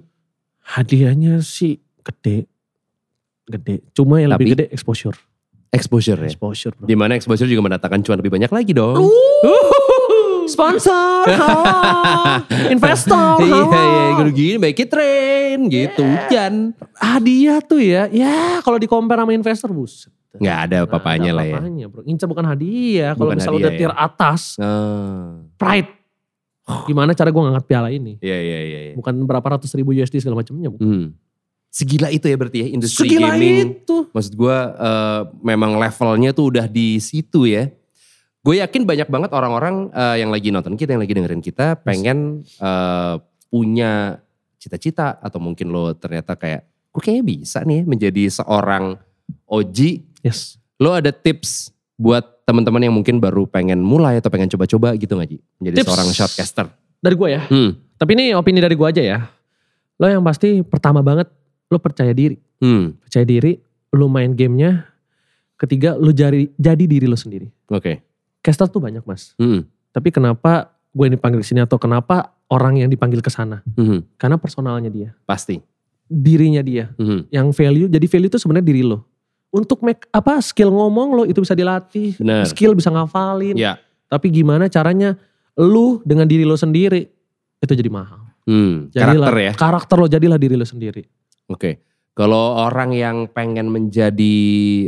Hadiahnya sih gede. gede. Cuma yang
Tapi-
lebih gede exposure.
Exposure ya.
Exposure bro.
Dimana exposure juga mendatangkan cuan lebih banyak lagi dong. Oh.
Sponsor, halo. investor,
Iya, iya,
halo.
gini, gini make it rain gitu, hujan.
Hadiah tuh ya, ya kalau di compare sama investor buset.
Nggak ada papanya lah ya.
ya. Bro. Incer bukan hadiah. Kalau
Bukan
misalnya udah
hadiah ya.
tier atas,
Ah,
pride. Gimana cara gue ngangkat piala ini?
Iya, iya, iya. iya.
Bukan berapa ratus ribu USD segala macamnya. bukan.
Hmm. Segila itu ya berarti ya industri
Segila
gaming.
itu.
Maksud gue eh, memang levelnya tuh udah di situ ya. Gue yakin banyak banget orang-orang eh, yang lagi nonton kita, yang lagi dengerin kita pengen eh, punya cita-cita atau mungkin lo ternyata kayak gue kayaknya bisa nih ya menjadi seorang Oji.
Yes.
Lo ada tips buat teman-teman yang mungkin baru pengen mulai atau pengen coba-coba gitu gak Ji? Menjadi
Tips.
seorang shortcaster.
Dari gue ya.
Hmm.
Tapi ini opini dari gue aja ya. Lo yang pasti pertama banget lo percaya diri.
Hmm.
Percaya diri, lo main gamenya. Ketiga, lo jari, jadi diri lo sendiri.
Oke.
Caster tuh banyak mas.
Hmm.
Tapi kenapa gue yang dipanggil ke sini atau kenapa orang yang dipanggil ke sana?
Hmm.
Karena personalnya dia.
Pasti.
Dirinya dia.
Hmm.
Yang value, jadi value itu sebenarnya diri lo. Untuk make apa skill ngomong lo itu bisa dilatih.
Benar.
Skill bisa ngafalin.
Ya.
Tapi gimana caranya lu dengan diri lo sendiri itu jadi mahal.
Hmm.
Jadilah,
Karakter ya.
Karakter lo jadilah diri lo sendiri.
Oke. Kalau orang yang pengen menjadi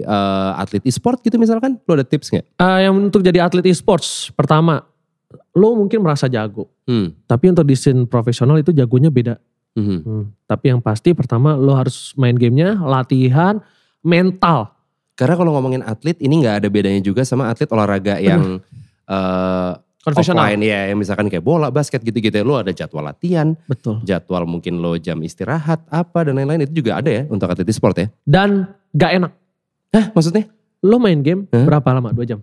eh, atlet e-sport gitu misalkan, lo ada tips nggak?
Eh, yang untuk jadi atlet e-sports, pertama, lo mungkin merasa jago.
Hmm.
Tapi untuk di scene profesional itu jagonya beda.
Mhm.
Hmm, Tapi yang pasti pertama lo harus main gamenya, latihan, mental.
Karena kalau ngomongin atlet ini nggak ada bedanya juga sama atlet olahraga yang eh
Konvensional.
offline ya, yang misalkan kayak bola, basket gitu-gitu. Lo ada jadwal latihan,
Betul.
jadwal mungkin lo jam istirahat apa dan lain-lain itu juga ada ya untuk atlet e-sport ya.
Dan gak enak.
Hah, maksudnya?
Lo main game
Hah?
berapa lama? 2 jam?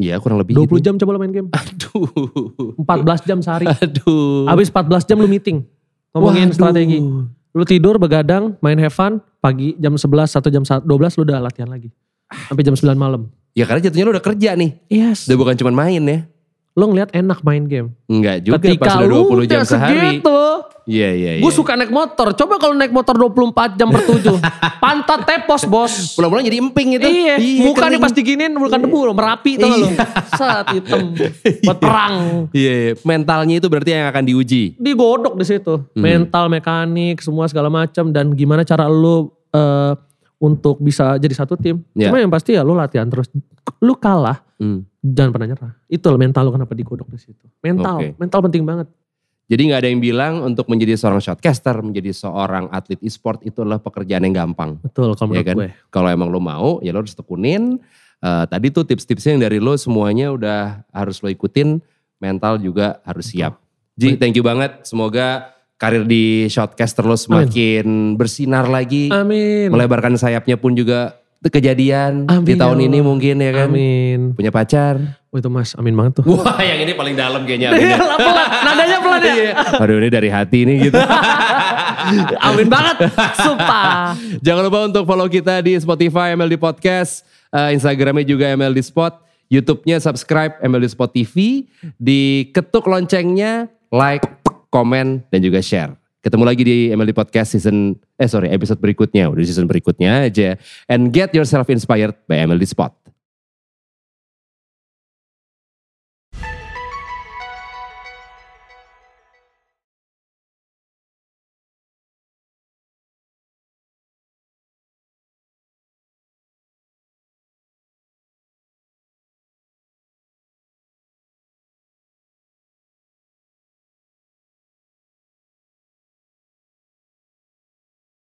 Iya kurang lebih
20
gitu.
jam coba lo main game.
Aduh.
14 jam sehari.
Aduh.
Habis 14 jam lo meeting. Ngomongin
Waduh.
strategi. Lu tidur begadang, main have fun, pagi jam 11, 1 jam 12 lu udah latihan lagi. Sampai jam 9 malam.
Ya karena jatuhnya lo udah kerja nih.
Yes.
Udah bukan cuma main ya.
Lu ngeliat enak main game.
Enggak juga pas
Ketika
udah 20
lu
jam
udah
sehari.
segitu,
Iya, iya, iya.
gue suka naik motor. Coba kalau naik motor 24 jam per 7. pantat tepos bos.
Pulang-pulang jadi emping gitu. itu.
Iya, muka nih
kening.
pasti giniin bukan debu loh, merapi tau gak lu. Set hitam, buat perang.
Iya, iya. mentalnya itu berarti yang akan diuji.
Digodok di situ. Mental, mekanik, semua segala macam dan gimana cara lu eh, untuk bisa jadi satu tim.
Iya.
Cuma yang pasti ya lu latihan terus. Lu kalah,
Hmm.
jangan pernah nyerah. Itu loh mental lu kenapa digodok di situ. Mental,
Oke.
mental penting banget.
Jadi nggak ada yang bilang untuk menjadi seorang shotcaster, menjadi seorang atlet e-sport itu adalah pekerjaan yang gampang.
Betul kalau
Iya
menurut
kan?
gue.
Kalau emang lo mau, ya lo harus tekunin. Eh, tadi tuh tips-tipsnya yang dari lo semuanya udah harus lo ikutin. Mental juga harus siap. Ji, thank you banget. Semoga karir di shotcaster lo semakin bersinar lagi.
Amin.
Melebarkan sayapnya pun juga kejadian di
Amin,
tahun
ya
ini
Allah.
mungkin ya kan.
Amin.
Punya pacar.
Oh itu mas, amin banget tuh.
Wah yang ini paling dalam kayaknya. ya.
Iya, pelan, nadanya pelan ya.
Iya. Aduh ini dari hati ini gitu.
Amin banget, sumpah.
Jangan lupa untuk follow kita di Spotify MLD Podcast, eh, Instagramnya juga MLD Spot, YouTube-nya subscribe MLD Spot TV, diketuk loncengnya, like, komen, dan juga share. Ketemu lagi di MLD Podcast season, eh sorry episode berikutnya, udah season berikutnya aja. And get yourself inspired by MLD Spot.